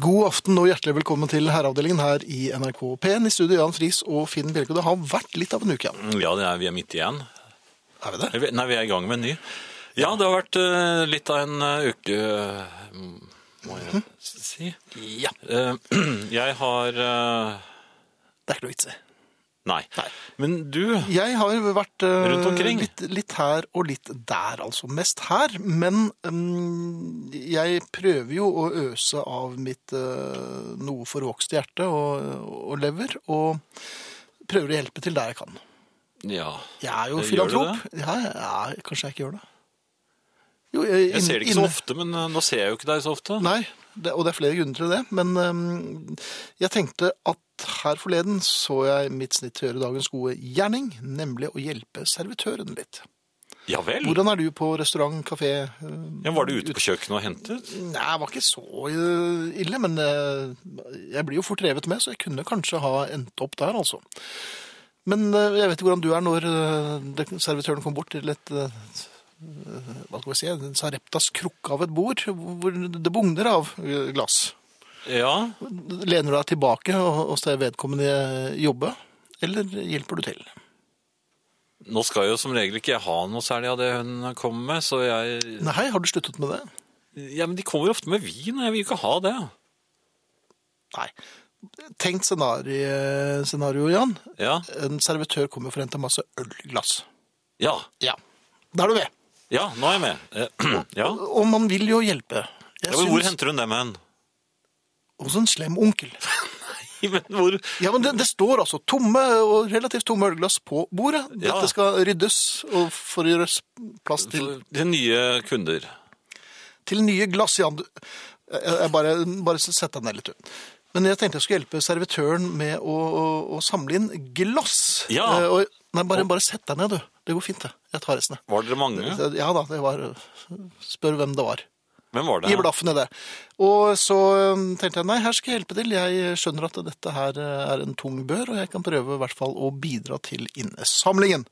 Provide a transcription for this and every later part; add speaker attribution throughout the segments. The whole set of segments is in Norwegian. Speaker 1: God aften og hjertelig velkommen til herreavdelingen her i NRK P1. I studio Jan Friis og Finn Bjelke. Det har vært litt av en uke, Jan.
Speaker 2: Mm, Ja, det er, vi er midt igjen.
Speaker 1: Er vi det?
Speaker 2: Nei, vi er i gang med en ny. Ja, det har vært eh, litt av en eh, uke, eh, må
Speaker 1: Mhm.
Speaker 2: jeg si.
Speaker 1: Ja.
Speaker 2: Eh, jeg har eh,
Speaker 1: Det er ikke noe vits i.
Speaker 2: Nei.
Speaker 1: Nei.
Speaker 2: Men du
Speaker 1: Jeg har vært eh,
Speaker 2: Rundt omkring.
Speaker 1: Litt, litt her og litt der, altså. Mest her. Men mm, jeg prøver jo å øse av mitt eh, noe forvokste hjerte og, og lever, og prøver å hjelpe til der jeg kan.
Speaker 2: Ja.
Speaker 1: Jeg er jo
Speaker 2: Gjør du
Speaker 1: filantrop. Ja, ja, kanskje jeg ikke gjør det. Jo, jeg,
Speaker 2: Jeg ser det ikke
Speaker 1: inne-
Speaker 2: så ofte, men eh, nå ser jeg jo ikke deg så ofte.
Speaker 1: Nei, det, og det er flere grunner til det. Men øhm, jeg tenkte at her forleden så jeg mitt snitt til å gjøre dagens gode gjerning, nemlig å hjelpe servitøren litt.
Speaker 2: Ja vel?
Speaker 1: Hvordan er du på restaurant, kafé? øh,
Speaker 2: Ja, var du ute på kjøkkenet og hentet?
Speaker 1: Nei, det var ikke så øh, ille, men øh, jeg blir jo fort revet med, så jeg kunne kanskje ha endt opp der, altså. Men øh, jeg vet ikke hvordan du er når øh, det- servitøren kom bort til et øh, øh, hva skal vi si, en Sareptas krukke av et bord, hvor det bugner av øh, glass.
Speaker 2: Ja.
Speaker 1: Lener du deg tilbake og, og ser vedkommende jobbe, eller hjelper du til?
Speaker 2: Nå skal jo som regel ikke jeg ha noe særlig av det hun kommer med, så jeg
Speaker 1: Nei, har du sluttet med det?
Speaker 2: Ja, men de kommer ofte med vin, og jeg vil jo ikke ha det.
Speaker 1: Nei. Tenkt scenario, scenario, Jan.
Speaker 2: Ja.
Speaker 1: En servitør kommer for å hente masse ølglass.
Speaker 2: Ja.
Speaker 1: Ja. Da er du med.
Speaker 2: Ja, nå er jeg med. Eh, Ja.
Speaker 1: Og man vil jo hjelpe. Jeg
Speaker 2: Ja, men hvor
Speaker 1: synes-
Speaker 2: henter hun dem hen?
Speaker 1: Hos en slem onkel.
Speaker 2: Men hvor
Speaker 1: Ja, men det, det står altså tomme og relativt tomme ølglass på bordet.
Speaker 2: Ja.
Speaker 1: Dette skal ryddes og for å gjøres plass til
Speaker 2: Til nye kunder.
Speaker 1: til nye glass, Jan. Du- Jeg jeg bare, bare sett deg ned litt. du. Men jeg tenkte jeg skulle hjelpe servitøren med å, å, å samle inn glass.
Speaker 2: Ja.
Speaker 1: Eh, Og, nei, bare, bare sett deg ned, du. Det går fint, det. Jeg tar resten. jeg.
Speaker 2: Var dere mange?
Speaker 1: Ja da, det var Spør hvem det var.
Speaker 2: Hvem var det?
Speaker 1: Gi blaffen i det. Og så eh, tenkte jeg nei, her skal jeg hjelpe til. Jeg skjønner at dette her eh, er en tung bør, og jeg kan prøve i hvert fall å bidra til innsamlingen.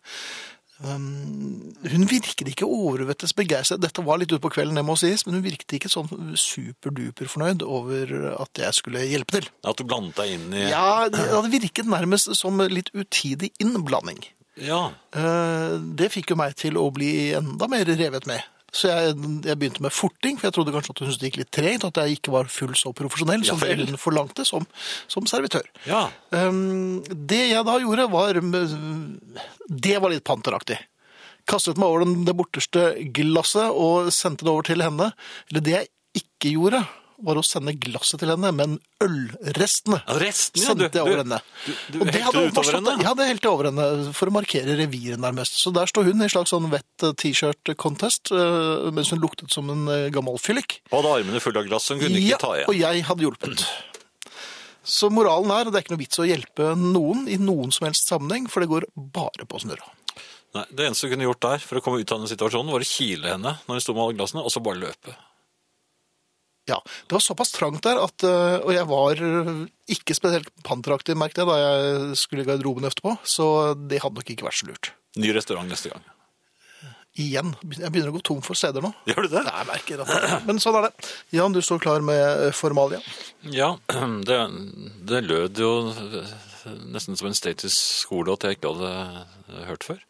Speaker 1: Um, hun virket ikke overvettes begeistret. Dette var litt ute på kvelden, det må sies, men hun virket ikke sånn superduper fornøyd over at jeg skulle hjelpe til.
Speaker 2: At du blandet deg inn i
Speaker 1: Ja, det det virket nærmest som litt utidig innblanding.
Speaker 2: Ja.
Speaker 1: Eh, Det fikk jo meg til å bli enda mer revet med. Så jeg, jeg begynte med forting, for jeg trodde kanskje at hun syntes det gikk litt tregt, at jeg ikke var full så profesjonell som
Speaker 2: Ja vel.
Speaker 1: hun forlangte som, som servitør.
Speaker 2: ja.
Speaker 1: Um, det jeg da gjorde, var Det var litt panteraktig. Kastet meg over den, det borteste glasset og sendte det over til henne. Eller det jeg ikke gjorde, var å sende glasset til henne, men ølrestene
Speaker 2: Ja, Resten, ja. Du,
Speaker 1: sendte jeg over henne.
Speaker 2: du, du
Speaker 1: Og det
Speaker 2: helte
Speaker 1: hadde
Speaker 2: det utover
Speaker 1: overstått-
Speaker 2: henne?
Speaker 1: Ja, det helte jeg over henne for å markere reviren nærmest. Så der står hun i en slags sånn vett eh, t-shirt-contest, eh, mens hun luktet som en eh, gammel fyllik.
Speaker 2: Og hadde armene fulle av glass, så hun kunne
Speaker 1: Ja,
Speaker 2: ikke ta
Speaker 1: og
Speaker 2: igjen.
Speaker 1: jeg hadde hjulpet. Så moralen er, det er ikke noe vits å hjelpe noen i noen som helst sammenheng, for det går bare på snurra.
Speaker 2: Nei, det eneste du kunne gjort der, for å komme ut av den situasjonen, var å kile henne når hun sto med alle glassene, og så bare løpe.
Speaker 1: Ja, det var såpass trangt der, at, øh, og jeg var øh, ikke spesielt panteraktig, merk det, da jeg skulle i garderoben etterpå, så det hadde nok ikke vært så lurt.
Speaker 2: Ny restaurant neste gang.
Speaker 1: Igjen, jeg begynner å gå tom for steder nå.
Speaker 2: Gjør du det?
Speaker 1: Nei, jeg merker at Men sånn er det. Jan, du står klar med øh, formalia.
Speaker 2: Ja, det, det lød jo nesten som en status-skole-låt jeg ikke hadde hørt før.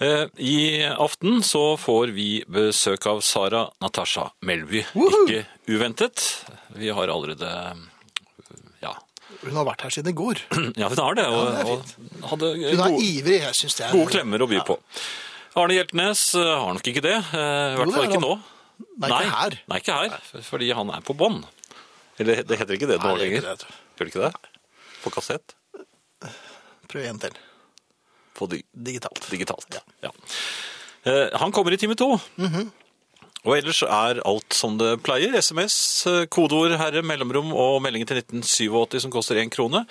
Speaker 2: Eh, I aften så får vi besøk av Sara Natasha Melby.
Speaker 1: Woohoo!
Speaker 2: Ikke uventet. Vi har allerede ja.
Speaker 1: Hun har vært her siden i går.
Speaker 2: ja, hun har det.
Speaker 1: Ja,
Speaker 2: Og,
Speaker 1: det er fint.
Speaker 2: og hadde
Speaker 1: Hun er
Speaker 2: gode,
Speaker 1: ivrig, jeg synes det er...
Speaker 2: gode klemmer å by på. Arne Hjeltnes eh, har nok ikke det. eh,
Speaker 1: Jo,
Speaker 2: I
Speaker 1: det
Speaker 2: hvert fall
Speaker 1: er
Speaker 2: ikke
Speaker 1: han.
Speaker 2: nå.
Speaker 1: Nei, ikke her.
Speaker 2: Nei, ikke her, fordi han er på bånd. Eller det heter ikke det nå
Speaker 1: Nei, det er ikke
Speaker 2: lenger.
Speaker 1: det, tror
Speaker 2: Gjør det ikke det? På kassett?
Speaker 1: Prøv igjen til.
Speaker 2: På di
Speaker 1: Digitalt.
Speaker 2: digitalt. Ja. Eh, han kommer i time to.
Speaker 1: Mhm.
Speaker 2: Og ellers er alt som det pleier. SMS, eh, kodeord herre, mellomrom og meldingen til 1987 som koster én krone.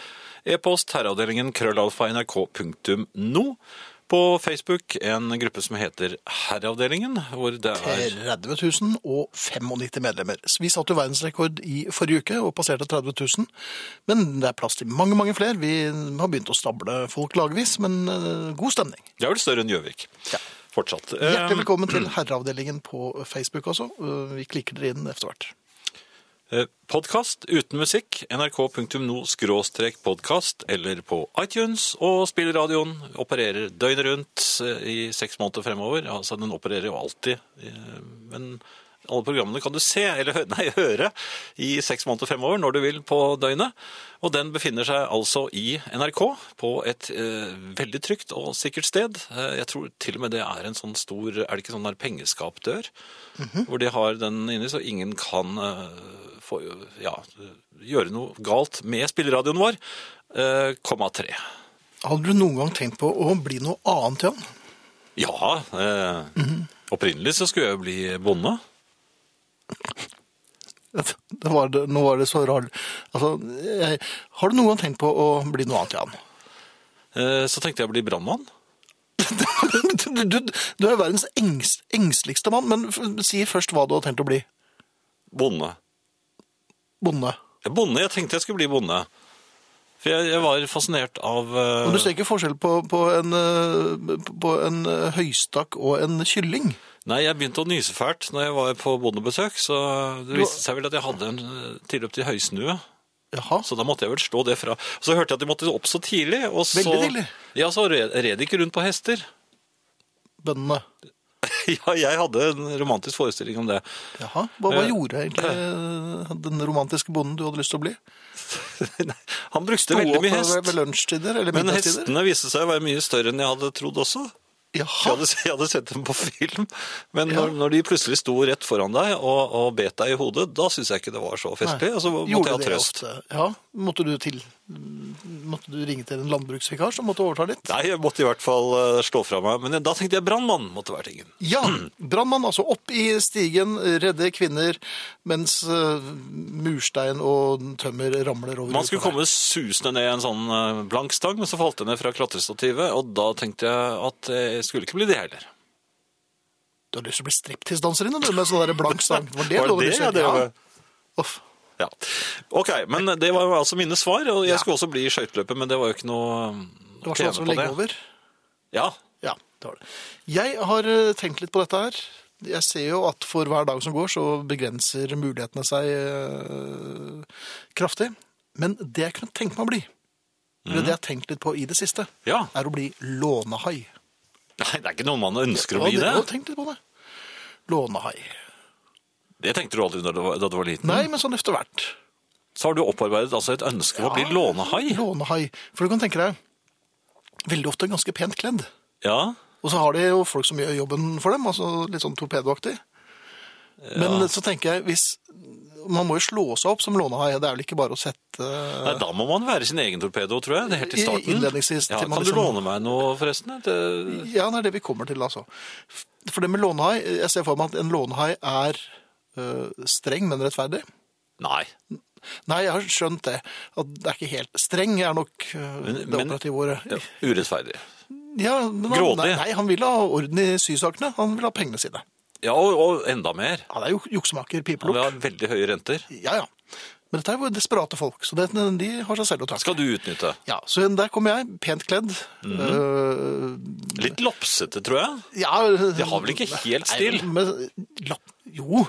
Speaker 2: E-post herreavdelingen krøllalfa nrk.no. På Facebook en gruppe som heter Herreavdelingen, hvor det er
Speaker 1: 30 095 medlemmer. Så Vi satte jo verdensrekord i forrige uke og passerte 30 000. Men det er plass til mange, mange flere. Vi har begynt å stable folk lagvis, men eh, god stemning.
Speaker 2: Det er vel større enn Gjøvik.
Speaker 1: Ja.
Speaker 2: Fortsatt.
Speaker 1: Hjertelig
Speaker 2: Eh,
Speaker 1: velkommen til herreavdelingen på Facebook også. Eh, Vi klikker dere inn etter hvert.
Speaker 2: Podkast uten musikk, nrk.no-podkast eller på iTunes. Og spilleradioen opererer døgnet rundt eh, i seks måneder fremover. Altså, den opererer jo alltid. eh, Men alle programmene kan du se, eller hø- nei, høre, i seks måneder fremover når du vil på døgnet. Og den befinner seg altså i NRK, på et eh, veldig trygt og sikkert sted. Eh, jeg tror til og med det er en sånn stor Er det ikke sånn der pengeskapdør? Hvor de har den inni, så ingen kan eh, få, ja, gjøre noe galt med spilleradioen vår. Eh, komma tre.
Speaker 1: Hadde du noen gang tenkt på å bli noe annet, Jan?
Speaker 2: Ja, eh, opprinnelig så skulle jeg jo bli bonde.
Speaker 1: Det var det, nå var det så rart. Altså, jeg, har du noen gang tenkt på å bli noe annet, Jan?
Speaker 2: Eh, så tenkte jeg å bli brannmann.
Speaker 1: Du, du, du er verdens engst, engsteligste mann, men f- si først hva du har tenkt å bli.
Speaker 2: Bonde.
Speaker 1: Bonde.
Speaker 2: Ja, Bonde, jeg tenkte jeg skulle bli bonde. For jeg, jeg var fascinert av eh,
Speaker 1: Men du ser ikke forskjell på, på, en, eh, på en eh, høystakk og en kylling.
Speaker 2: Nei, jeg begynte å nyse fælt når jeg var på bondebesøk, så det viste seg vel at jeg hadde en eh, tilløp til høysnue.
Speaker 1: Jaha.
Speaker 2: Så da måtte jeg vel slå det fra. Så hørte jeg at de måtte opp så tidlig. Og så,
Speaker 1: Veldig tidlig.
Speaker 2: Ja, så red, red de ikke rundt på hester.
Speaker 1: Bøndene.
Speaker 2: ja, jeg hadde en romantisk forestilling om det.
Speaker 1: Jaha. Hva, hva
Speaker 2: Eh,
Speaker 1: gjorde egentlig eh, den romantiske bonden du hadde lyst til å bli?
Speaker 2: Nei, Han brukte
Speaker 1: Sto
Speaker 2: veldig
Speaker 1: opp eh,
Speaker 2: mye
Speaker 1: ved-
Speaker 2: hest.
Speaker 1: Ved lunsjtider eller
Speaker 2: Men
Speaker 1: middagstider?
Speaker 2: hestene viste seg å være mye større enn jeg hadde trodd også. Jeg
Speaker 1: Jaha.
Speaker 2: hadde, jeg hadde sett dem på film, men
Speaker 1: Ja.
Speaker 2: når, når de plutselig sto rett foran deg og, og bet deg i hodet, da syns jeg ikke det var så festlig. Og så måtte
Speaker 1: Gjorde
Speaker 2: jeg ha
Speaker 1: dere
Speaker 2: Altså, trøst.
Speaker 1: ofte? Ja. Måtte du, til, måtte du ringe til en landbruksvikar som måtte overta litt?
Speaker 2: Nei, jeg måtte i hvert fall eh, slå fra meg. Men da tenkte jeg brannmann måtte være tingen.
Speaker 1: Ja, brannmann altså opp i stigen, redde kvinner, mens eh, murstein og tømmer ramler over.
Speaker 2: Man skulle
Speaker 1: utover.
Speaker 2: komme susende ned en sånn eh, blank stang, men så falt jeg ned fra klatrestativet, og da tenkte jeg at jeg skulle ikke bli det heller.
Speaker 1: Du har lyst til å bli striptease-danserinne, du, med sånn der blank sang. Var det,
Speaker 2: Var
Speaker 1: noe du
Speaker 2: jeg
Speaker 1: skjønte?
Speaker 2: drev med?
Speaker 1: Ja. Uff.
Speaker 2: Ja. Ok, men det var jo altså mine svar, og jeg
Speaker 1: Ja.
Speaker 2: skulle også bli skøyteløper, men det var jo ikke noe eh,
Speaker 1: Det var sånn
Speaker 2: tjene
Speaker 1: som
Speaker 2: på
Speaker 1: å legge
Speaker 2: det.
Speaker 1: over.
Speaker 2: Ja,
Speaker 1: Ja, det var det. Jeg har eh, tenkt litt på dette her. Jeg ser jo at for hver dag som går, så begrenser mulighetene seg eh, kraftig. Men det jeg kunne tenke meg å bli, eller det jeg har tenkt litt på i det siste,
Speaker 2: ja.
Speaker 1: er å bli lånehai.
Speaker 2: Nei, det er ikke noe man ønsker å
Speaker 1: Ja,
Speaker 2: bli
Speaker 1: dere
Speaker 2: det.
Speaker 1: har tenkt litt på det. Lånehai.
Speaker 2: Det tenkte du aldri da du var, da du var liten.
Speaker 1: Nei, men sånn etter hvert.
Speaker 2: Så har du opparbeidet altså et ønske om å bli
Speaker 1: Ja.
Speaker 2: lånehai.
Speaker 1: Lånehai. For du kan tenke deg, veldig ofte ganske pent kledd.
Speaker 2: Ja,
Speaker 1: Og så har de jo folk som gjør jobben for dem, altså litt sånn torpedoaktig. Men så tenker jeg, hvis Man må jo slå seg opp som lånehai. Det er vel ikke bare å sette
Speaker 2: Nei, da må man være sin egen torpedo, tror jeg. Det er helt i
Speaker 1: I-
Speaker 2: starten.
Speaker 1: innledningsvis,
Speaker 2: Ja,
Speaker 1: til man
Speaker 2: kan du
Speaker 1: liksom-
Speaker 2: låne meg noe, forresten? Det...
Speaker 1: Ja, det er det vi kommer til, altså. For det med lånehai Jeg ser for meg at en lånehai er øh, streng, men rettferdig.
Speaker 2: Nei.
Speaker 1: Nei, jeg har skjønt det. At det er ikke helt Streng er nok øh,
Speaker 2: Men-
Speaker 1: det
Speaker 2: men-
Speaker 1: operative ordet.
Speaker 2: Ja, urettferdig.
Speaker 1: Ja, men han,
Speaker 2: Grådig.
Speaker 1: nei, nei, han vil ha orden i sysakene. Han vil ha pengene sine.
Speaker 2: Ja, og, og enda mer.
Speaker 1: Han er jo juksemaker,
Speaker 2: Han vil
Speaker 1: pipelukk.
Speaker 2: ha veldig høye renter.
Speaker 1: Ja, ja. Men dette er jo desperate folk, så det, de har seg selv å takke.
Speaker 2: Skal du utnytte.
Speaker 1: Ja, så der kommer jeg, pent kledd. Øh,
Speaker 2: Litt lopsete, tror jeg.
Speaker 1: Eh, ja,
Speaker 2: De Mhm. har vel ikke helt stil?
Speaker 1: Nei, men, lapp- jo,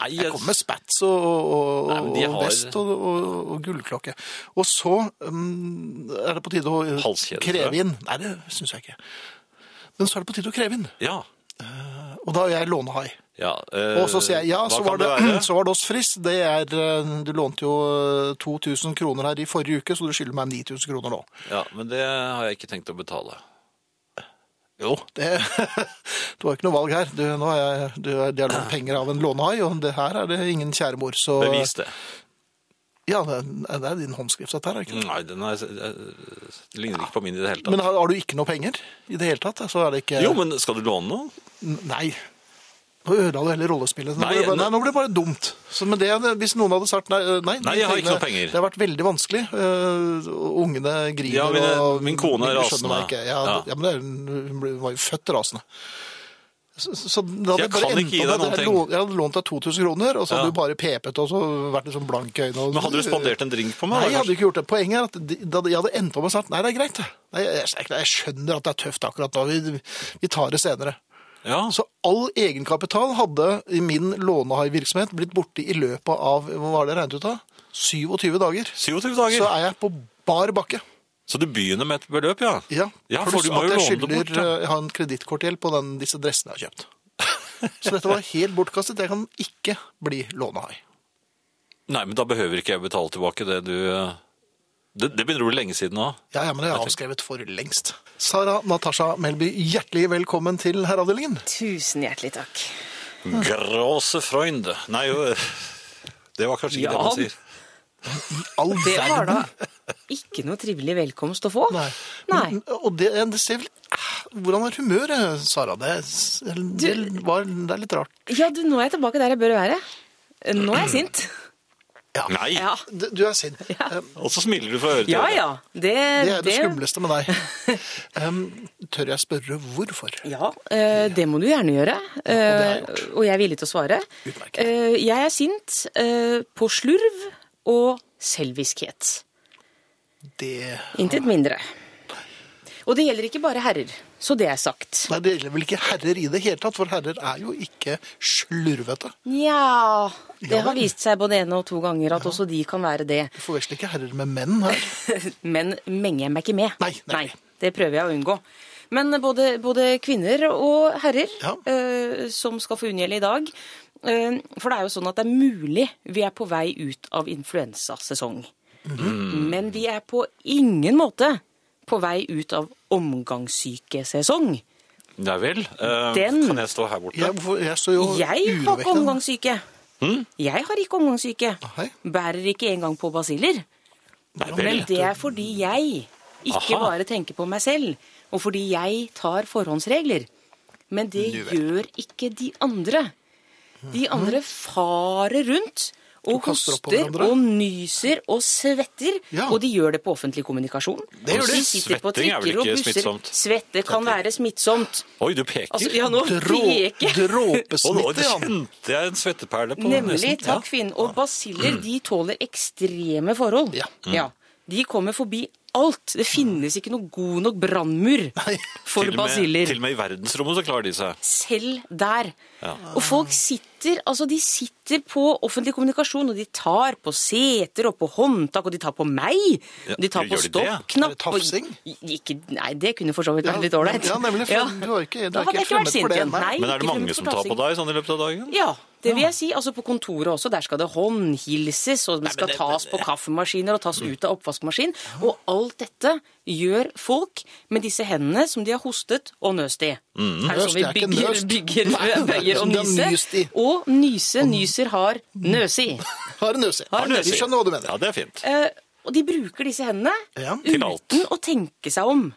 Speaker 2: Nei,
Speaker 1: jeg kommer med spats og, og,
Speaker 2: Nei, men de
Speaker 1: og
Speaker 2: har-
Speaker 1: vest og, og, og gullklokke. Og så mm, er det på tide å eh,
Speaker 2: Halskjede, tror
Speaker 1: kreve
Speaker 2: jeg.
Speaker 1: inn. Nei, det syns jeg ikke. Men så er det på tide å kreve inn.
Speaker 2: Ja.
Speaker 1: Og da er jeg lånehai.
Speaker 2: ja eh,
Speaker 1: Og så sier jeg ja,
Speaker 2: hva
Speaker 1: så
Speaker 2: kan
Speaker 1: var, det,
Speaker 2: være?
Speaker 1: så var det oss frist. Det er, eh, du lånte jo eh, 2000 kroner her i forrige uke, så du skylder meg 9000 kroner nå.
Speaker 2: Ja, men det har jeg ikke tenkt å betale.
Speaker 1: Jo. Det, det var ikke noe valg her. Du, nå er jeg, du, er- de har lånt penger av en lånehai, og det her er det ingen kjære mor. Så,
Speaker 2: Bevis det.
Speaker 1: Ja, det er, det er din håndskrift, dette her. er det Ikke?
Speaker 2: Nei, den er, eh, det ligner ikke på min i det hele tatt.
Speaker 1: Men har, har du ikke noe penger i det hele tatt? Så er det ikke
Speaker 2: Jo, men skal du låne noe?
Speaker 1: N- Nei. Nå ødela du heller rollespillet. Nå
Speaker 2: Nei,
Speaker 1: ble det bare,
Speaker 2: nå-
Speaker 1: nei, nå ble det bare dumt. Så, men det, hadde- hvis noen hadde sagt nei, øh, nei,
Speaker 2: Nei,
Speaker 1: de
Speaker 2: jeg har ikke noe penger.
Speaker 1: Det har vært veldig vanskelig. øh, og ungene griner.
Speaker 2: Ja, mine-
Speaker 1: og,
Speaker 2: min kone er
Speaker 1: de skjønner meg
Speaker 2: rasende.
Speaker 1: ikke. Ja,
Speaker 2: Ja.
Speaker 1: d- ja, men det, er- hun ble- hun var jo født rasende. Så, så da hadde
Speaker 2: Jeg
Speaker 1: det bare
Speaker 2: kan
Speaker 1: endt
Speaker 2: ikke gi
Speaker 1: opp
Speaker 2: deg
Speaker 1: at jeg
Speaker 2: noen
Speaker 1: lå- Jeg hadde lånt deg 2000 kroner, og så hadde
Speaker 2: Ja.
Speaker 1: du bare pepet og så vært litt sånn blank i øynene. og-
Speaker 2: Men hadde du spandert en drink på meg?
Speaker 1: Nei,
Speaker 2: da,
Speaker 1: jeg hadde
Speaker 2: kanskje?
Speaker 1: ikke gjort det. Poenget er at de, da jeg hadde endt opp med å sagt nei, det er greit. det. Nei, jeg, jeg, jeg skjønner at det er tøft akkurat nå. Vi, vi tar det senere.
Speaker 2: Ja,
Speaker 1: Så all egenkapital hadde i min lånehaivirksomhet blitt borte i løpet av hva var det jeg regnet ut av? 27 dager.
Speaker 2: 27
Speaker 1: Så
Speaker 2: dager.
Speaker 1: er jeg på bar bakke.
Speaker 2: Så du begynner med et beløp, ja?
Speaker 1: Ja,
Speaker 2: Ja, for
Speaker 1: Pluss
Speaker 2: du må
Speaker 1: at
Speaker 2: jo
Speaker 1: jeg
Speaker 2: låne det bort,
Speaker 1: skylder
Speaker 2: ja.
Speaker 1: eh, jeg har en kredittkortgjeld på den, disse dressene jeg har kjøpt. Så dette var helt bortkastet. Jeg kan ikke bli lånehai.
Speaker 2: Nei, men da behøver ikke jeg betale tilbake det du eh, Det, det begynner å bli lenge siden nå.
Speaker 1: Ja, ja, men det er avskrevet for lengst. Sara Natasha Melby, hjertelig velkommen til herreavdelingen.
Speaker 3: Tusen hjertelig takk.
Speaker 2: Grosse Freund. Nei, jo eh, Det var kanskje ikke det
Speaker 3: Ja.
Speaker 2: man sier.
Speaker 1: All
Speaker 3: Det var da
Speaker 1: verden.
Speaker 3: ikke noe trivelig velkomst å få.
Speaker 1: Nei.
Speaker 3: Nei.
Speaker 1: Men, Og det, det ser vel eh, Hvordan er humøret, Sara? Det, s- det, var, det er litt rart.
Speaker 3: Ja, du, nå er jeg tilbake der jeg bør være. Nå er jeg sint.
Speaker 1: Ja.
Speaker 2: Nei!
Speaker 3: Ja,
Speaker 1: Du du er sint. Eh,
Speaker 2: Og så smiler du fra øre til
Speaker 3: ja.
Speaker 2: øre.
Speaker 3: ja. Det,
Speaker 1: Det er det skumleste med deg. Em, Tør jeg spørre hvorfor?
Speaker 3: Ja, eh, det må du gjerne gjøre.
Speaker 1: Ja, og det har jeg
Speaker 3: eh, og jeg er villig til å svare.
Speaker 1: Utmerket.
Speaker 3: Eh, Jeg er sint eh, på slurv og selviskhet.
Speaker 1: Det
Speaker 3: Intet mindre. Og det gjelder ikke bare herrer, så det er sagt.
Speaker 1: Nei, det gjelder vel ikke herrer i det hele tatt, for herrer er jo ikke slurvete.
Speaker 3: Nja
Speaker 1: Ja
Speaker 3: Det har
Speaker 1: vel.
Speaker 3: vist seg både ene og to ganger at også de kan være det.
Speaker 1: Du forveksler ikke herrer med menn her.
Speaker 3: Men menger jeg meg ikke med.
Speaker 1: Nei, nemlig.
Speaker 3: det prøver jeg å unngå. Men både, både kvinner og herrer
Speaker 1: Ja.
Speaker 3: eh, som skal få unngjelde i dag eh, For det er jo sånn at det er mulig vi er på vei ut av influensasesong.
Speaker 1: Mm.
Speaker 3: Men vi er på ingen måte på vei ut av omgangssykesesong.
Speaker 2: Nei vel. eh,
Speaker 3: Den-
Speaker 2: Kan jeg stå her borte?
Speaker 1: Jeg, hvorfor- jeg står jo
Speaker 3: Jeg har ikke
Speaker 1: urovekkende. Mm.
Speaker 3: omgangssyke. Jeg har ikke omgangssyke.
Speaker 1: Nei.
Speaker 3: Bærer ikke engang på basiller.
Speaker 2: Nei
Speaker 3: Men
Speaker 2: vel.
Speaker 3: det er fordi jeg ikke
Speaker 2: Aha.
Speaker 3: bare tenker på meg selv, og fordi jeg tar forhåndsregler. Men det
Speaker 1: Nu vel.
Speaker 3: gjør ikke de andre. De andre farer rundt og,
Speaker 1: Og kaster opp på
Speaker 3: hoster
Speaker 1: hverandre.
Speaker 3: og nyser og svetter.
Speaker 1: Ja.
Speaker 3: Og de gjør det på offentlig kommunikasjon.
Speaker 1: Det gjør
Speaker 3: Og
Speaker 1: de.
Speaker 3: sitter på
Speaker 2: Svetting er vel
Speaker 3: trikker og
Speaker 2: ikke
Speaker 3: busser.
Speaker 2: smittsomt?
Speaker 3: Svette kan være smittsomt.
Speaker 2: Oi, du peker.
Speaker 3: Altså, ja, nå
Speaker 1: Drå,
Speaker 3: peker
Speaker 2: Og nå
Speaker 1: dråpesmitte, ja.
Speaker 2: kjente jeg en svetteperle på
Speaker 3: Nemlig.
Speaker 2: nesen.
Speaker 3: Takk, Finn. Og basiller de tåler ekstreme forhold.
Speaker 1: Ja.
Speaker 3: Ja. De kommer forbi alt. Det finnes ikke noe god nok brannmur
Speaker 1: Nei.
Speaker 3: for
Speaker 2: Til og med-
Speaker 3: basiller.
Speaker 2: Til og med i verdensrommet så klarer de seg.
Speaker 3: Selv der. Og folk sitter altså de sitter på offentlig kommunikasjon, og de tar på seter og på håndtak, og de tar på meg.
Speaker 2: Ja,
Speaker 3: og de tar
Speaker 2: gjør
Speaker 3: på
Speaker 2: de det?
Speaker 1: Er det
Speaker 3: stoppknapp. og-
Speaker 1: tafsing?
Speaker 3: Ikke, nei, det kunne for så vidt
Speaker 1: Ja,
Speaker 3: vært litt ålreit.
Speaker 1: ja, nemlig, for du har ikke- du er
Speaker 3: da
Speaker 1: ikke
Speaker 3: hadde jeg ikke vært
Speaker 1: fremmed for
Speaker 3: sint
Speaker 1: det,
Speaker 3: igjen.
Speaker 1: nei.
Speaker 3: Nei,
Speaker 2: Men er
Speaker 3: ikke
Speaker 2: det mange
Speaker 3: fremmed for
Speaker 2: som tar
Speaker 3: tafsing.
Speaker 2: på deg sånn i løpet av dagen?
Speaker 3: Ja, det vil jeg si. Altså På kontoret også, der skal det håndhilses, og det skal tas på kaffemaskiner
Speaker 1: Mm.
Speaker 3: og tas ut av oppvaskmaskin. Og alt dette gjør folk med disse hendene som de har hostet og nøst i. Er det
Speaker 1: Mm. Nøst,
Speaker 3: sånn
Speaker 1: det er
Speaker 3: vi
Speaker 1: ikke
Speaker 3: bygger,
Speaker 1: nøst.
Speaker 3: bygger
Speaker 1: Nei, det er
Speaker 3: veier og
Speaker 1: som de har nyst
Speaker 3: nyse?
Speaker 1: i. Mm.
Speaker 3: Og nyse, nyser, har nøs i.
Speaker 1: Har en nøse.
Speaker 3: Har en nøse.
Speaker 1: Vi skjønner hva du mener.
Speaker 2: Ja, det er fint.
Speaker 3: Eh, Og de bruker disse hendene
Speaker 1: Ja.
Speaker 2: Til alt.
Speaker 3: uten å tenke seg om.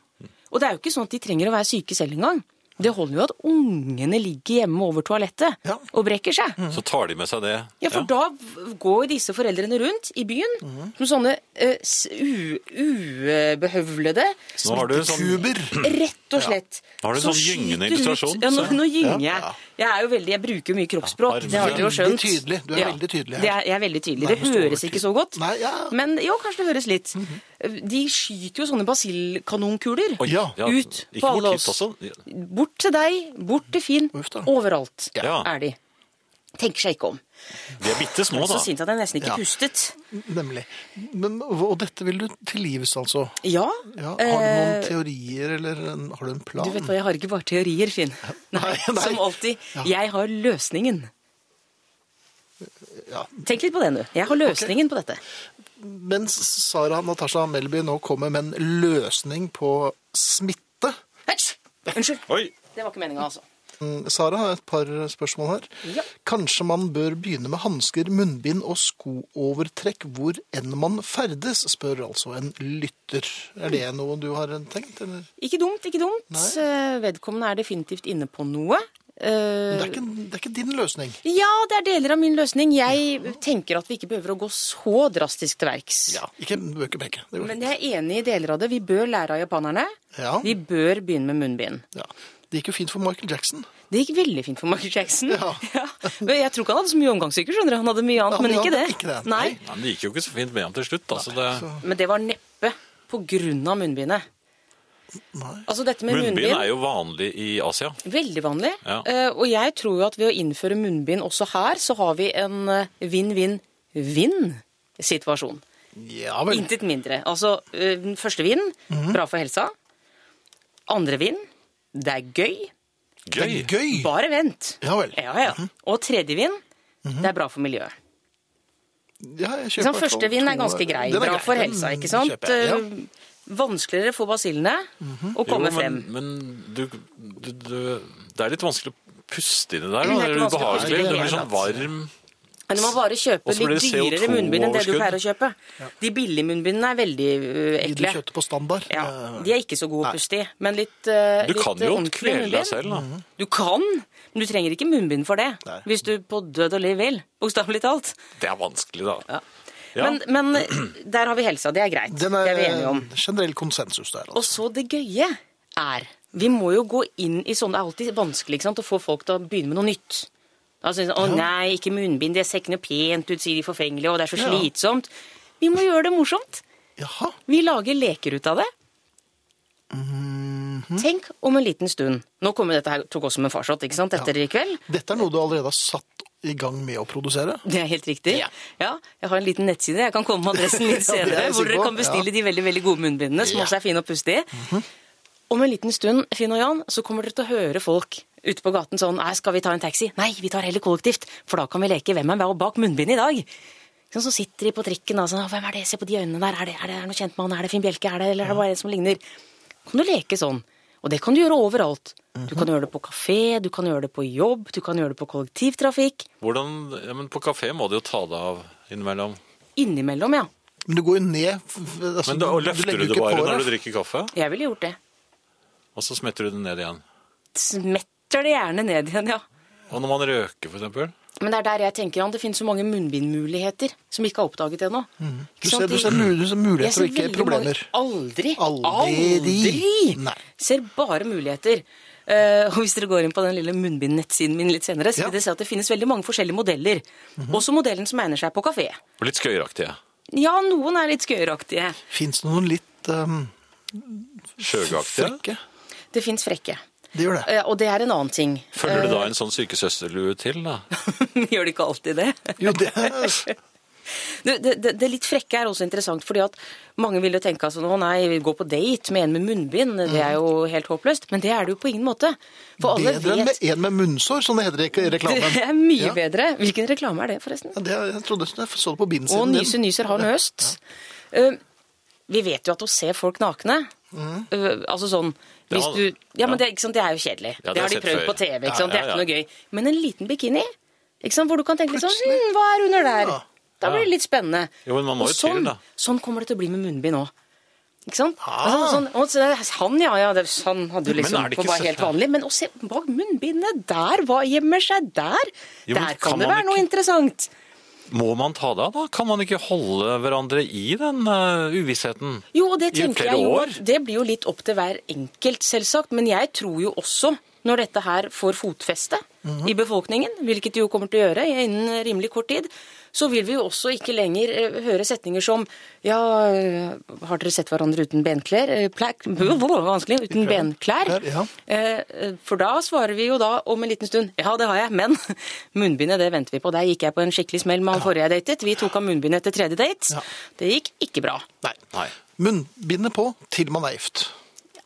Speaker 3: Og det er jo ikke sånn at de trenger å være syke selv engang. Det holder jo at ungene ligger hjemme over toalettet
Speaker 1: Ja. Mm.
Speaker 3: og brekker seg.
Speaker 2: Så tar de med seg det.
Speaker 3: Ja, for da v- går disse foreldrene rundt i byen
Speaker 1: Mhm.
Speaker 3: som sånne eh, s- u- ubehøvlede
Speaker 2: Nå har du sånn
Speaker 1: Kuber.
Speaker 3: Rett og slett.
Speaker 2: Nå har du en
Speaker 3: som
Speaker 2: sånn gyngende
Speaker 3: skyter ut-
Speaker 2: illustrasjon,
Speaker 3: Ja, nå,
Speaker 2: så-
Speaker 3: nå gynger jeg.
Speaker 1: ja.
Speaker 3: Jeg er jo veldig, jeg bruker mye kroppsspråk.
Speaker 2: Ja,
Speaker 3: det har dere jo
Speaker 1: veldig
Speaker 3: skjønt.
Speaker 1: tydelig. Du er veldig tydelig her.
Speaker 3: Det er, jeg er veldig tydelig.
Speaker 1: Nærmest
Speaker 3: Det høres ikke så godt.
Speaker 1: Nei, ja. Mhm.
Speaker 3: Men jo, kanskje det høres litt. De skyter jo sånne basillkanonkuler
Speaker 2: Oi,
Speaker 1: Ja.
Speaker 3: ut
Speaker 2: Ikke
Speaker 3: på
Speaker 2: bort
Speaker 3: alle
Speaker 2: hit
Speaker 3: oss.
Speaker 2: også.
Speaker 3: Bort til deg, bort til Finn.
Speaker 1: Uff da.
Speaker 3: Overalt
Speaker 2: Ja.
Speaker 3: er de. Tenker seg ikke om.
Speaker 2: De er bitte små,
Speaker 3: Jeg er
Speaker 2: da.
Speaker 3: så sint at jeg nesten
Speaker 1: Ja.
Speaker 3: ikke pustet.
Speaker 1: Nemlig. Men, og dette vil du til livs, altså.
Speaker 3: Ja.
Speaker 1: Ja, har du noen
Speaker 3: eh,
Speaker 1: teorier, eller en, har du en plan?
Speaker 3: du vet hva, jeg har ikke bare teorier, Finn. Nei,
Speaker 1: Nei, nei.
Speaker 3: Som alltid.
Speaker 1: Ja.
Speaker 3: Jeg har løsningen.
Speaker 1: Ja.
Speaker 3: Tenk litt på det nå. Jeg har løsningen på dette.
Speaker 1: Mens Sara Natasha Melby nå kommer med en løsning på smitte.
Speaker 3: Hetsj! Unnskyld.
Speaker 2: Oi,
Speaker 3: Det var ikke meninga, altså.
Speaker 1: Mm, Sara har et par spørsmål her.
Speaker 3: Ja.
Speaker 1: Kanskje man bør begynne med hansker, munnbind og skoovertrekk hvor enn man ferdes, spør altså en lytter. Er det noe du har tenkt, eller?
Speaker 3: Ikke dumt, ikke dumt.
Speaker 1: Nei.
Speaker 3: Eh, Vedkommende er definitivt inne på noe. Eh,
Speaker 1: Det er ikke, det er ikke din løsning.
Speaker 3: Ja, det er deler av min løsning. Jeg tenker at vi ikke behøver å gå så drastisk til verks.
Speaker 1: Ikke bøker begge. Det går
Speaker 3: Men
Speaker 1: fint.
Speaker 3: jeg er enig i deler av det. Vi bør lære av japanerne.
Speaker 1: Ja.
Speaker 3: Vi bør begynne med munnbind.
Speaker 1: ja. Det gikk jo fint for Michael Jackson.
Speaker 3: Det gikk veldig fint for Michael Jackson.
Speaker 1: Ja.
Speaker 3: Men Jeg tror ikke han hadde så mye omgangssyker, skjønner du. Han hadde mye annet,
Speaker 1: Han
Speaker 3: men ikke det.
Speaker 1: hadde ikke det,
Speaker 3: Nei.
Speaker 1: nei.
Speaker 2: Nei, men Det gikk jo ikke så fint med ham til slutt. Altså, det...
Speaker 1: Så-
Speaker 3: Men det var neppe på grunn av munnbindet.
Speaker 1: Nei.
Speaker 3: Altså dette med
Speaker 2: Munnbind
Speaker 3: munnbind
Speaker 2: er jo vanlig i Asia.
Speaker 3: Veldig vanlig.
Speaker 2: Ja.
Speaker 3: Eh, og jeg tror jo at ved å innføre munnbind også her, så har vi en eh, vinn-vinn-vinn-situasjon.
Speaker 1: Ja vel.
Speaker 3: Intet mindre. Altså, eh, den første vinn,
Speaker 1: Mhm.
Speaker 3: bra for helsa. Andre vinn, det er gøy.
Speaker 1: Det er
Speaker 2: Gøy!
Speaker 1: gøy.
Speaker 3: Bare vent.
Speaker 1: Ja vel. Mhm.
Speaker 3: Ja, ja. Og tredje vinn, det er bra for miljøet.
Speaker 1: Ja, jeg kjøper
Speaker 3: Ikke sant?
Speaker 1: i hvert fall
Speaker 3: Liksom Første vinn er
Speaker 1: to-
Speaker 3: ganske grei.
Speaker 1: Den er
Speaker 3: Bra for
Speaker 1: Den
Speaker 3: helsa, ikke sant?
Speaker 1: kjøper jeg, ja.
Speaker 3: Eh, Vanskeligere for basillene å
Speaker 2: Jo,
Speaker 3: komme
Speaker 2: men,
Speaker 3: frem.
Speaker 2: men du, du, du Det er litt vanskelig å puste inni der.
Speaker 3: Det
Speaker 2: Da.
Speaker 3: er
Speaker 2: Det er
Speaker 3: ikke vanskelig å puste
Speaker 2: ubehagelig.
Speaker 3: i det
Speaker 2: Det blir
Speaker 3: hele
Speaker 2: sånn varm
Speaker 3: Men du må bare kjøpe
Speaker 2: Og så blir
Speaker 3: litt
Speaker 2: det
Speaker 3: dyrere munnbind enn det du
Speaker 2: CO2-overskudd.
Speaker 3: pleier å kjøpe. De billige munnbindene er veldig eh,
Speaker 1: Gi det
Speaker 3: ekle.
Speaker 1: kjøttet på standard.
Speaker 3: Ja,
Speaker 1: Eh,
Speaker 3: de er ikke så gode å puste i, men litt eh,
Speaker 2: Du
Speaker 3: litt
Speaker 2: kan jo
Speaker 3: ordentlig
Speaker 2: kvele
Speaker 3: munnbind. Mhm.
Speaker 2: deg selv, da.
Speaker 1: Mhm.
Speaker 3: Du kan, men du trenger ikke munnbind for det.
Speaker 1: Nei.
Speaker 3: Hvis du på død og liv vil, bokstavelig talt.
Speaker 2: Det er vanskelig, da. Ja.
Speaker 3: Men, men eh, der har vi helsa, det er greit.
Speaker 1: Den er, eh,
Speaker 3: det er vi enige om.
Speaker 1: generell konsensus der.
Speaker 3: Og
Speaker 1: Altså.
Speaker 3: så det gøye er Vi må jo gå inn i sånne Det er alltid vanskelig ikke sant, å få folk til å begynne med noe nytt. Da synes de, sånn, Å nei, ikke munnbind, det ser ikke noe pent ut, sier de forfengelige, og det er så
Speaker 1: Ja.
Speaker 3: slitsomt. Vi må gjøre det morsomt.
Speaker 1: Jaha.
Speaker 3: Vi lager leker ut av det. Tenk om en liten stund Nå kommer dette her, tok oss som en farsott, ikke sant, etter i kveld.
Speaker 1: Dette er noe du allerede har satt i gang med å produsere.
Speaker 3: Det er helt riktig. Ja. jeg har en liten nettside. Jeg kan komme med adressen litt
Speaker 1: Ja, det er jeg
Speaker 3: senere, hvor
Speaker 1: sikker
Speaker 3: dere
Speaker 1: på.
Speaker 3: kan bestille
Speaker 1: Ja.
Speaker 3: de veldig veldig gode munnbindene, som
Speaker 1: Ja. Mhm.
Speaker 3: også er fine å puste i. Om en liten stund, Finn og Jan, så kommer dere til å høre folk ute på gaten sånn Nei, skal vi ta en taxi? Nei, vi tar heller kollektivt, for da kan vi leke Hvem er hva bak munnbindet i dag? Sånn, Så sitter de på trikken og sånn «Å, Hvem er det? Se på de øynene der. Er det, er det er det noe kjent med han? Er det Finn Bjelke? Er det, eller er det bare en som ligner? Kan du leke sånn? Og det kan du gjøre overalt.
Speaker 1: Mhm.
Speaker 3: Du kan gjøre det på kafé, du kan gjøre det på jobb, du kan gjøre det på kollektivtrafikk.
Speaker 2: Hvordan, ja, men på kafé må du jo ta deg av innimellom.
Speaker 3: Innimellom, ja.
Speaker 1: Men du går jo ned f- f- altså,
Speaker 2: Men da og løfter
Speaker 1: legger
Speaker 2: du
Speaker 1: jo
Speaker 2: det
Speaker 1: ikke
Speaker 2: bare
Speaker 1: på
Speaker 2: når
Speaker 1: deg.
Speaker 2: du drikker kaffe,
Speaker 3: Jeg ville gjort det.
Speaker 2: og så smetter du det ned igjen.
Speaker 3: Smetter det gjerne ned igjen, ja.
Speaker 2: Og når man røker, for eksempel.
Speaker 3: Men det er der jeg tenker, Jan, det finnes så mange munnbindmuligheter som vi ikke har oppdaget ennå.
Speaker 1: Mm. Du ser, du ser mul- du ser muligheter og ikke problemer.
Speaker 3: Aldri,
Speaker 1: Aldri.
Speaker 3: aldri!
Speaker 1: Nei.
Speaker 3: Ser bare muligheter. Eh, og hvis dere går inn på den lille munnbindnettsiden min litt senere, så
Speaker 1: Ja. Mhm.
Speaker 3: vil dere se at det finnes veldig mange forskjellige modeller. Også modellen som egner seg på kafé.
Speaker 2: Og litt skøyeraktige.
Speaker 3: Ja, noen er litt skøyeraktige.
Speaker 1: Fins det noen litt um,
Speaker 2: Skjøgeaktige.
Speaker 1: frekke?
Speaker 3: Det fins frekke.
Speaker 1: Det gjør det.
Speaker 3: Eh, og det er en annen ting.
Speaker 2: Følger du da en sånn sykesøsterlue til, da?
Speaker 3: Gjør det ikke alltid det?
Speaker 1: Jo, det
Speaker 3: Du, det, det, det litt frekke er også interessant, fordi at mange vil jo tenke altså, å nei, gå på date med en med munnbind, det er jo helt håpløst. Men det er det jo på ingen måte. For alle
Speaker 1: Mm. Bedre enn
Speaker 3: vet
Speaker 1: med en med munnsår, som det heter i rek- reklamen.
Speaker 3: Det er mye
Speaker 1: Ja.
Speaker 3: bedre. Hvilken reklame er det, forresten?
Speaker 1: Ja, det, jeg trodde jeg så det på
Speaker 3: Og
Speaker 1: bindsiden
Speaker 3: nyser, nyser, har nøst. Eh, vi vet jo at å se folk nakne eh, Altså sånn
Speaker 2: Det
Speaker 3: hvis
Speaker 2: har-
Speaker 3: du, ja, men
Speaker 2: Mm. ja.
Speaker 3: det, ikke sant, det er jo kjedelig.
Speaker 2: Ja, det har
Speaker 3: det, har de
Speaker 2: jeg sett
Speaker 3: prøvd
Speaker 2: før.
Speaker 3: på TV. Ikke sant?
Speaker 2: Ja, ja,
Speaker 3: Det er ikke noe gøy. Men en liten bikini, ikke sant? hvor du kan tenke litt sånn hm, Hva er under der?
Speaker 1: Ja.
Speaker 3: Da blir det litt spennende.
Speaker 2: Jo, men man må
Speaker 3: Og
Speaker 2: jo til,
Speaker 3: sånn,
Speaker 2: da.
Speaker 3: Sånn kommer det til å bli med munnbind òg. Ikke sant?
Speaker 1: Ah.
Speaker 3: Altså, sånn, og så er det- han, ja, ja, det, han hadde jo
Speaker 2: Men
Speaker 3: liksom
Speaker 2: er det
Speaker 3: på
Speaker 2: ikke
Speaker 3: var
Speaker 2: så-
Speaker 3: helt vanlig. Men å se bak munnbindet, der, hva gjemmer seg der?
Speaker 2: Jo, men
Speaker 3: der
Speaker 2: kan
Speaker 3: kan det
Speaker 2: man
Speaker 3: være noe interessant.
Speaker 2: Må man ta det av, da? Kan man ikke holde hverandre i den eh, uvissheten?
Speaker 3: Jo, og det
Speaker 2: I flere
Speaker 3: tenker jeg jo.
Speaker 2: år?
Speaker 3: Det blir jo litt opp til hver enkelt, selvsagt. Men jeg tror jo også, når dette her får fotfeste i befolkningen, hvilket det jo kommer til å gjøre innen rimelig kort tid, så vil vi jo også ikke lenger eh, høre setninger som ja, eh, har dere sett hverandre uten benklær? Eh, Plær, Bå, bå, bå, vanskelig, uten benklær.
Speaker 1: Klær, ja.
Speaker 3: Eh, eh, For da svarer vi jo da om en liten stund ja, det har jeg, men munnbindet det venter vi på. Der gikk jeg på en skikkelig smell med han forrige jeg datet. Vi tok av munnbindet etter tredje date.
Speaker 1: Ja.
Speaker 3: Det gikk ikke bra.
Speaker 1: Nei.
Speaker 2: Nei.
Speaker 1: Munnbindet på til man er gift.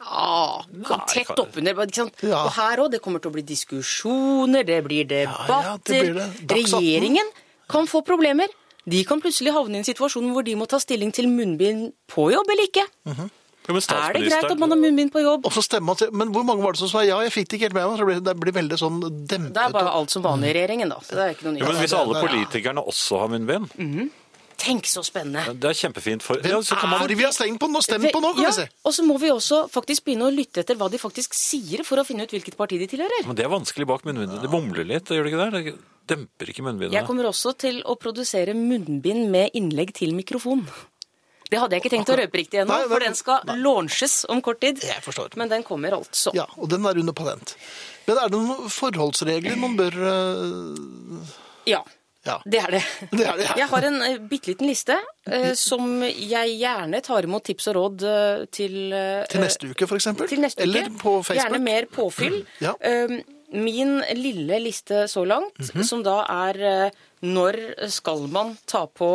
Speaker 3: Ja, sånn
Speaker 2: Nei,
Speaker 3: tett
Speaker 2: kan-
Speaker 3: oppunder. Ikke sant?
Speaker 1: Ja.
Speaker 3: Og her òg, det kommer til å bli diskusjoner, det blir debatter.
Speaker 1: ja, det blir det. Dagsnytt.
Speaker 3: Regjeringen kan få problemer. De kan plutselig havne i en situasjon hvor de må ta stilling til munnbind på jobb eller ikke.
Speaker 1: Mm.
Speaker 2: Jo, men
Speaker 3: Er det greit at
Speaker 2: statsministeren-
Speaker 3: man har munnbind på jobb?
Speaker 1: Og så stemmer man til Men hvor mange var det som sa ja, jeg fikk det ikke helt med meg? Så det blir, det blir veldig sånn dempet.
Speaker 3: Det er bare alt som vanlig i regjeringen, da. Så det er ikke noe nytt.
Speaker 2: Jo, men hvis
Speaker 1: det-
Speaker 2: alle
Speaker 1: det-
Speaker 2: politikerne også har munnbind,
Speaker 3: Mm. Tenk så spennende.
Speaker 2: det er kjempefint for
Speaker 1: Hvem
Speaker 2: ja, så kan
Speaker 1: er
Speaker 2: man,
Speaker 1: det vi har stengt på nå? Stem på nå, kan
Speaker 3: Ah. ja,
Speaker 1: vi se.
Speaker 3: Og så må vi også faktisk begynne å lytte etter hva de faktisk sier, for å finne ut hvilket parti de tilhører.
Speaker 2: Men det er vanskelig bak munnbindet. Det mumler litt, gjør det ikke det? Det demper ikke munnbindet.
Speaker 3: Jeg kommer også til å produsere munnbind med innlegg til mikrofon. Det hadde jeg ikke tenkt å røpe riktig ennå,
Speaker 1: Nei, nei,
Speaker 3: for den skal launches om kort tid.
Speaker 1: Jeg forstår.
Speaker 3: Men den kommer altså.
Speaker 1: Ja, og den er under patent. Men er det noen forholdsregler man bør eh,
Speaker 3: Ja.
Speaker 1: Ja.
Speaker 3: Det er det.
Speaker 1: Det er det, ja. Mm.
Speaker 3: Jeg har en uh, bitte liten liste eh, som jeg gjerne tar imot tips og råd eh, til eh,
Speaker 1: Til neste uke, for eksempel?
Speaker 3: Til neste uke.
Speaker 1: Eller på Facebook?
Speaker 3: Gjerne mer påfyll.
Speaker 1: Ja.
Speaker 3: Eh, Min lille liste så langt,
Speaker 1: Mhm.
Speaker 3: som da er eh, når skal man ta på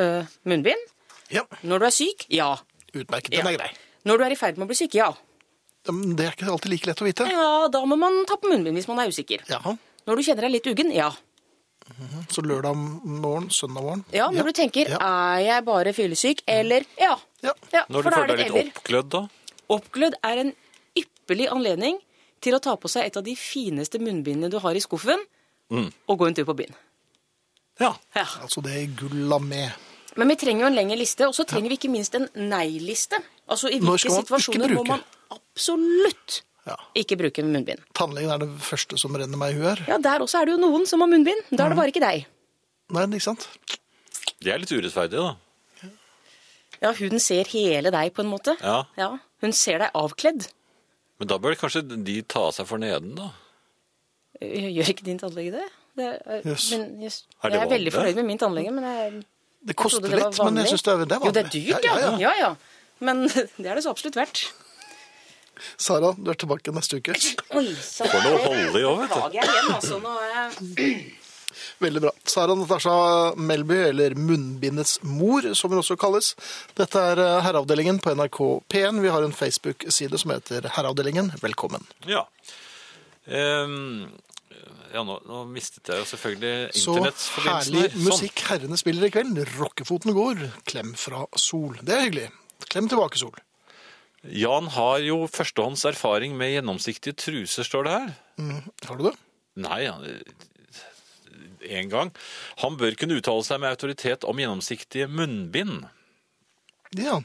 Speaker 3: eh, munnbind?
Speaker 1: Ja,
Speaker 3: Når du er syk? Ja.
Speaker 1: utmerket.
Speaker 3: Ja.
Speaker 1: Den er grei.
Speaker 3: Når du er i ferd med å bli syk? Ja.
Speaker 1: Men Det er ikke alltid like lett å vite.
Speaker 3: Ja, da må man ta på munnbind hvis man er usikker.
Speaker 1: Ja,
Speaker 3: Når du kjenner deg litt uggen? Ja.
Speaker 1: Så lørdag morgen, søndag morgen.
Speaker 3: Ja, Når du tenker
Speaker 1: Ja.
Speaker 3: ah.
Speaker 1: Mm.
Speaker 3: 'er jeg bare fyllesyk', eller 'ja'.
Speaker 1: Ja.
Speaker 2: Når du
Speaker 3: for da er
Speaker 2: føler
Speaker 3: det
Speaker 2: deg
Speaker 3: et eller.
Speaker 2: litt oppglødd, da?
Speaker 3: Oppglødd er en ypperlig anledning til å ta på seg et av de fineste munnbindene du har i skuffen,
Speaker 1: Mm.
Speaker 3: og gå en tur på byen.
Speaker 2: Ja.
Speaker 3: Ja.
Speaker 1: Altså det er gullamé.
Speaker 3: Men vi trenger jo en lengre liste, og så trenger vi ikke minst en nei-liste. Altså i
Speaker 1: Når
Speaker 3: hvilke
Speaker 1: skal man ikke
Speaker 3: situasjoner må
Speaker 1: bruke?
Speaker 3: man absolutt
Speaker 1: Ja.
Speaker 3: ikke bruke munnbind.
Speaker 1: Tannlegen er det første som renner meg i huet her.
Speaker 3: Ja, der også er det jo noen som har munnbind. Da
Speaker 1: Mm.
Speaker 3: er det bare ikke deg.
Speaker 1: Nei, ikke sant?
Speaker 2: De er litt urettferdige, da.
Speaker 3: Ja, huden ser hele deg på en måte.
Speaker 2: Ja.
Speaker 3: Hun ser deg avkledd.
Speaker 2: Men da bør kanskje de ta av seg for neden, da.
Speaker 3: Gjør ikke din tannlege det? det er, eh,
Speaker 1: Jøss.
Speaker 3: men, jøss.
Speaker 2: Er det
Speaker 3: jeg er veldig
Speaker 2: vanlig?
Speaker 3: fornøyd med min tannlege, men jeg
Speaker 1: Det
Speaker 3: Jeg
Speaker 1: koster
Speaker 3: trodde det var
Speaker 1: litt, men jeg
Speaker 3: vanlig.
Speaker 1: syns det, er- det er vanlig.
Speaker 3: Jo, det er dyrt, ja.
Speaker 1: Ja, ja, ja.
Speaker 3: ja, ja. Men det er det så absolutt verdt.
Speaker 1: Sara, du er tilbake neste uke.
Speaker 3: Oi, sant.
Speaker 2: For noe hold i òg, vet du.
Speaker 3: Beklager jeg igjen, altså. Nå er jeg
Speaker 1: Veldig bra. Sara Natasha Melby, eller Munnbindets mor, som hun også kalles. Dette er eh, Herreavdelingen på NRK P1. Vi har en Facebook-side som heter Herreavdelingen. Velkommen.
Speaker 2: Ja. Ehm, ja, nå, nå mistet jeg jo selvfølgelig
Speaker 1: Så
Speaker 2: internettforbindelsen
Speaker 1: herlig
Speaker 2: her. Sånn.
Speaker 1: musikk herrene spiller i kveld. Rockefoten går. Klem fra sol. Det er hyggelig. Klem tilbake, sol.
Speaker 2: Sånn. Jan har jo førstehånds erfaring med gjennomsiktige truser, står det her.
Speaker 1: Mm, Har du det?
Speaker 2: Nei, han- en gang. Han bør kunne uttale seg med autoritet om gjennomsiktige munnbind.
Speaker 1: Ja.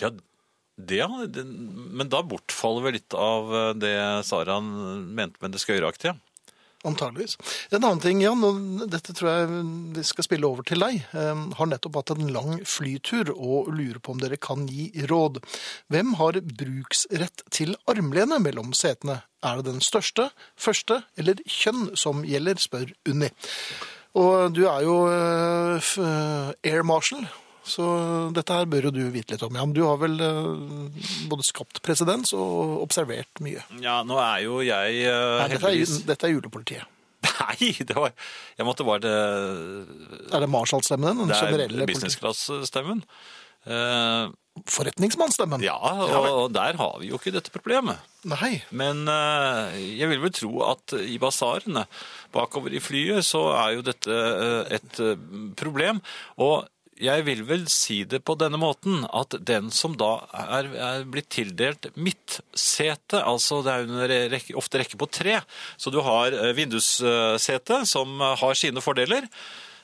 Speaker 2: Ja, det, ja, det- men da bortfaller vel litt av eh, det Sara mente med det skøyeraktige.
Speaker 1: Antageligvis. En annen ting, Jan, og dette tror jeg vi skal spille over til deg, eh, har nettopp hatt en lang flytur og lurer på om dere kan gi råd. Hvem har bruksrett til armlene mellom setene? Er det den største, første eller kjønn som gjelder, spør Unni. Og du er jo eh, f- air marshal, så dette her bør jo du vite litt om, Jan. Du har vel eh, både skapt presedens og observert mye.
Speaker 2: Ja, nå er jo jeg
Speaker 1: Nei,
Speaker 2: eh,
Speaker 1: dette, er,
Speaker 2: heldigvis
Speaker 1: ju- dette er julepolitiet.
Speaker 2: Nei, det var Jeg måtte bare til
Speaker 1: Er det Marshall-stemmen, den
Speaker 2: Det er
Speaker 1: generelle
Speaker 2: business
Speaker 1: politi-
Speaker 2: class-stemmen. Eh,
Speaker 1: forretningsmannsstemmen?
Speaker 2: ja, og, og der har vi jo ikke dette problemet.
Speaker 1: Nei.
Speaker 2: Men eh, jeg vil vel tro at i basarene bakover i flyet så er jo dette eh, et eh, problem. Og jeg vil vel si det på denne måten at den som da er, er blitt tildelt midtsete, altså det er jo en re- rekke, ofte rekke på tre, så du har eh, vindussete som har sine fordeler,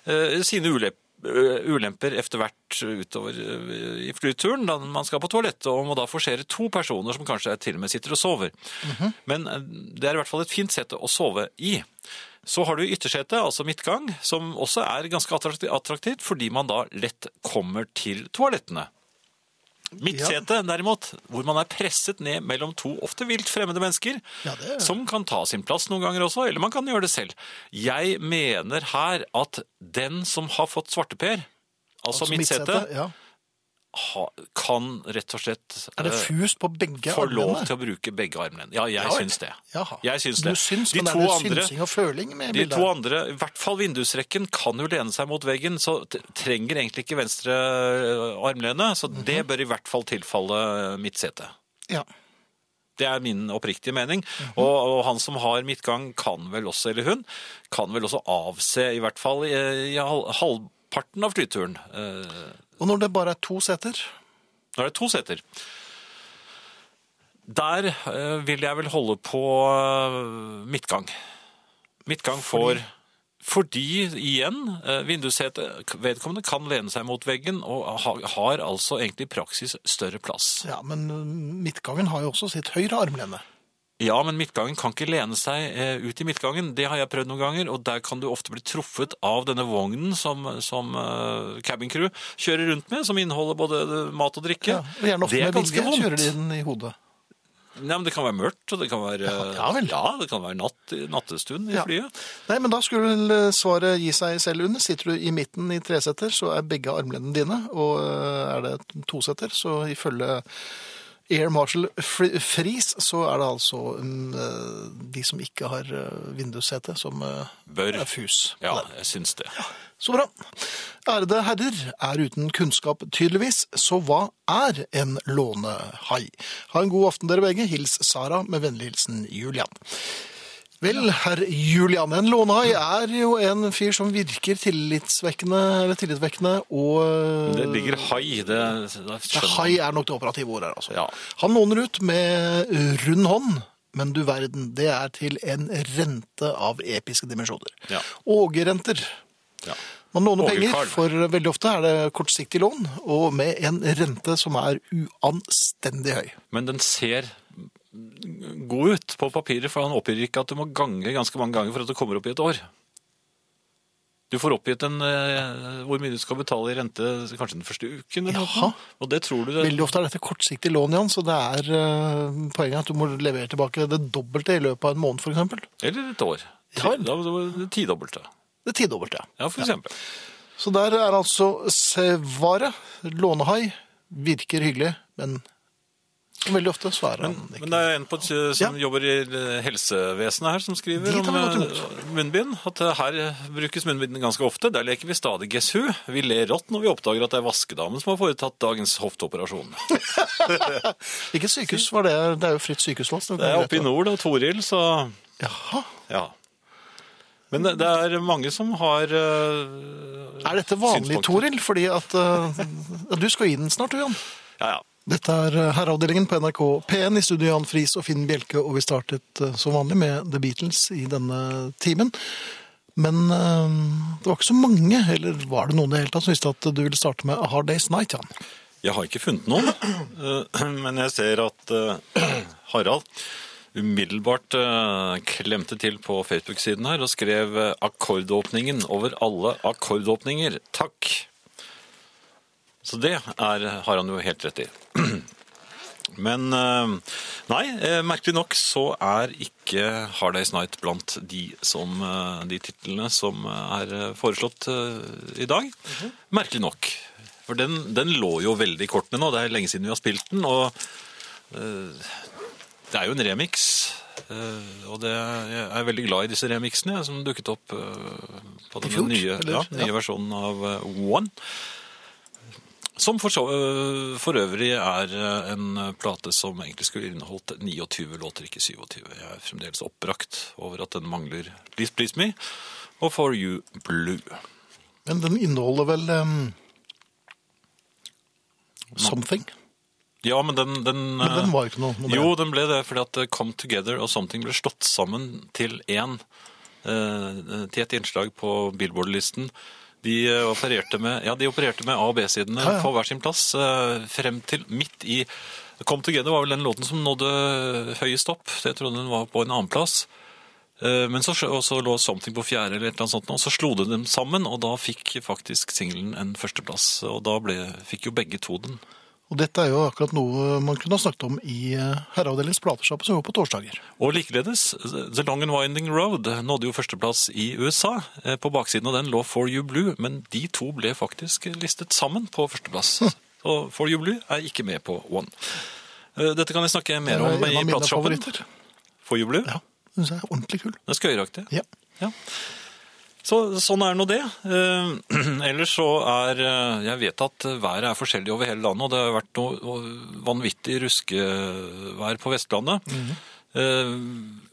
Speaker 2: eh, sine ulemper ulemper etter hvert utover eh, i flyturen. Da man skal på toalettet og må da forsere to personer som kanskje til og med sitter og sover. Men eh, det er i hvert fall et fint sete å sove i. Så har du yttersetet, altså midtgang, som også er ganske attrakti- attraktivt fordi man da lett kommer til toalettene. Midtsetet, derimot, hvor man er presset ned mellom to ofte vilt fremmede mennesker,
Speaker 1: Ja, det er-
Speaker 2: som kan ta sin plass noen ganger også, eller man kan gjøre det selv. Jeg mener her at den som har fått svarteper, altså,
Speaker 1: Altså
Speaker 2: mitt sete,
Speaker 1: midtsete, Ja.
Speaker 2: ha- kan rett og slett
Speaker 1: Er det
Speaker 2: eh,
Speaker 1: fust på begge
Speaker 2: få lov
Speaker 1: armene?
Speaker 2: til å bruke begge armene. Ja, jeg
Speaker 1: Ja, vel.
Speaker 2: syns det.
Speaker 1: Jaha.
Speaker 2: Jeg syns
Speaker 1: Du
Speaker 2: det.
Speaker 1: syns,
Speaker 2: De
Speaker 1: men
Speaker 2: to
Speaker 1: er det
Speaker 2: andre-
Speaker 1: synsing og føling med
Speaker 2: De
Speaker 1: bildet?
Speaker 2: to andre, i hvert fall vindusrekken, kan jo lene seg mot veggen, så t- trenger egentlig ikke venstre eh, armlene, så det
Speaker 1: Mhm.
Speaker 2: bør i hvert fall tilfalle eh, mitt sete.
Speaker 1: Ja.
Speaker 2: Det er min oppriktige mening. og, og han som har midtgang kan vel også, eller hun, kan vel også avse i hvert fall i, i hal- halvparten av flyturen. Eh,
Speaker 1: Og når det bare er to seter?
Speaker 2: Nå er det to seter. Der eh, vil jeg vel holde på eh, midtgang. Midtgang får fordi, igjen, eh, vindussetet vedkommende kan lene seg mot veggen og ha, har altså egentlig i praksis større plass.
Speaker 1: Ja, men mm, midtgangen har jo også sitt høyre armlene.
Speaker 2: Ja, men midtgangen kan ikke lene seg eh, ut i midtgangen. Det har jeg prøvd noen ganger, og der kan du ofte bli truffet av denne vognen som, som eh, cabin crew kjører rundt med, som inneholder både eh, mat og drikke.
Speaker 1: Ja, og gjerne ofte
Speaker 2: det er
Speaker 1: med
Speaker 2: ganske
Speaker 1: vilje
Speaker 2: vondt.
Speaker 1: kjører de den i hodet.
Speaker 2: Nei, men det kan være mørkt, og det kan være,
Speaker 1: ja vel.
Speaker 2: det kan være natt, nattestund i
Speaker 1: Ja.
Speaker 2: flyet.
Speaker 1: Nei, men da skulle vel eh, svaret gi seg selv under. Sitter du i midten i tresetter, så er begge armleddene dine. Og øh, er det tosetter, så ifølge Air Marshal Fri- Friis, så er det altså mm, øh, de som ikke har øh, vindussete, som øh,
Speaker 2: Bør.
Speaker 1: er fus. på
Speaker 2: Ja,
Speaker 1: det.
Speaker 2: jeg syns det.
Speaker 1: Så bra. Ærede herrer er uten kunnskap tydeligvis, så hva er en lånehai? Ha en god aften dere begge. Hils Sara med vennlig hilsen Julian. Vel, herr Julian, en lånehai er jo en fyr som virker tillitsvekkende, eller tillitvekkende, og
Speaker 2: Det ligger hai. Det, det
Speaker 1: Ja,
Speaker 2: skjønner
Speaker 1: Hai er nok det operative ordet her, altså.
Speaker 2: Ja.
Speaker 1: Han låner ut med rund hånd, men du verden, det er til en rente av episke dimensjoner.
Speaker 2: Ja.
Speaker 1: Ågerrenter.
Speaker 2: Ja.
Speaker 1: Man låner
Speaker 2: Åge
Speaker 1: penger,
Speaker 2: Karl.
Speaker 1: for eh, veldig ofte er det kortsiktig lån, og med en rente som er uanstendig høy.
Speaker 2: Men den ser god ut på papiret, for han oppgir ikke at du må gange ganske mange ganger for at du kommer opp i et år. Du får oppgitt en, eh, hvor mye du skal betale i rente kanskje den første uken. Eller
Speaker 1: Jaha.
Speaker 2: noe. Og det tror du det,
Speaker 1: Veldig ofte er dette kortsiktig lån, Jan, så det er eh, poenget at du må levere tilbake det dobbelte i løpet av en måned, for eksempel.
Speaker 2: Eller et år.
Speaker 1: Ja vel.
Speaker 2: Da var det tidobbelte.
Speaker 1: Det tidobbelte.
Speaker 2: Ja, for eksempel.
Speaker 1: Så der er altså svaret. Lånehai virker hyggelig, men veldig ofte svarer han ikke.
Speaker 2: Men det er en på, et- eh, som jobber i eh, helsevesenet her som skriver
Speaker 1: De tar
Speaker 2: om
Speaker 1: vi godt
Speaker 2: eh, munnbind. At eh, her brukes munnbind ganske ofte. Der leker vi stadig Guess Who. Vi ler rått når vi oppdager at det er vaskedamen som har foretatt dagens hofteoperasjon.
Speaker 1: Hvilket sykehus var det? Det er jo fritt sykehusvalg. så
Speaker 2: Det
Speaker 1: kan
Speaker 2: er
Speaker 1: vi
Speaker 2: oppe i
Speaker 1: vite.
Speaker 2: nord, da. Toril, så
Speaker 1: Jaha.
Speaker 2: ja. Men det det er mange som har eh,
Speaker 1: Er dette vanlig,
Speaker 2: Synspunkter.
Speaker 1: Toril? Fordi at eh, ja, Du skal gi den snart, du, Jan.
Speaker 2: Ja, ja.
Speaker 1: Dette er eh, Herreavdelingen på NRK P1 i studio Jan Friis og Finn Bjelke, og vi startet eh, som vanlig med The Beatles i denne timen. Men eh, det var ikke så mange, eller var det noen i det hele tatt, som visste at du ville starte med A Hard Day's Night, Jan?
Speaker 2: Jeg har ikke funnet noen, eh, men jeg ser at eh, Harald umiddelbart eh, klemte til på Facebook-siden her og skrev eh, akkordåpningen over alle akkordåpninger. Takk! Så det er, har han jo helt rett i. Men eh, nei, eh, merkelig nok så er ikke Hard Days Night blant de, som, eh, de titlene som er eh, foreslått eh, i dag.
Speaker 1: Mhm.
Speaker 2: Merkelig nok. For den, den lå jo veldig i kortene nå. Det er lenge siden vi har spilt den. Og eh, det er jo en remix. eh, og det, jeg er veldig glad i disse remixene jeg, som dukket opp eh, på den
Speaker 1: fjor,
Speaker 2: nye,
Speaker 1: eller?
Speaker 2: ja, nye
Speaker 1: Ja.
Speaker 2: versjonen av eh, One. Som for, så, øh, for øvrig er øh, en plate som egentlig skulle inneholdt 29 låter, ikke 27. Jeg er fremdeles oppbrakt over at den mangler Please Please Me og For You Blue.
Speaker 1: Men den inneholder vel ehm, Something.
Speaker 2: Ja, men den, den,
Speaker 1: Men den
Speaker 2: øh,
Speaker 1: var jo ikke noe nummer
Speaker 2: Jo,
Speaker 1: én.
Speaker 2: den ble det fordi at øh, Come Together og Something ble slått sammen til én. øh, til et innslag på Billboard-listen. De øh, opererte med, ja, de opererte med A- og B-sidene
Speaker 1: Ja, ja.
Speaker 2: på hver sin plass øh, frem til midt i Come Together var vel den låten som nådde høyest opp. Jeg trodde den var på en annen plass. Eh, Men så, og så lå Something på fjerde, eller et eller annet sånt, nå, og så slo de dem sammen, og da fikk faktisk singelen en førsteplass. Og da ble, fikk jo begge to den.
Speaker 1: Og dette er jo akkurat noe man kunne ha snakket om i eh, Herreavdelingens platesjappe som går på torsdager.
Speaker 2: Og likeledes, The Long and Winding Road nådde jo førsteplass i USA. Eh, På baksiden av den lå For You Blue, men de to ble faktisk listet sammen på førsteplass. Og For You Blue er ikke med på One. Eh, Dette kan jeg snakke mer om i plateshoppen. For You Blue.
Speaker 1: Ja, den synes jeg er ordentlig kul.
Speaker 2: Det er skøyeraktig.
Speaker 1: Ja.
Speaker 2: Ja. Så, sånn er nå det. Eh, ellers så er eh, Jeg vet at været er forskjellig over hele landet, og det har vært noe eh, vanvittig ruskevær på Vestlandet.
Speaker 1: Mhm.
Speaker 2: Eh,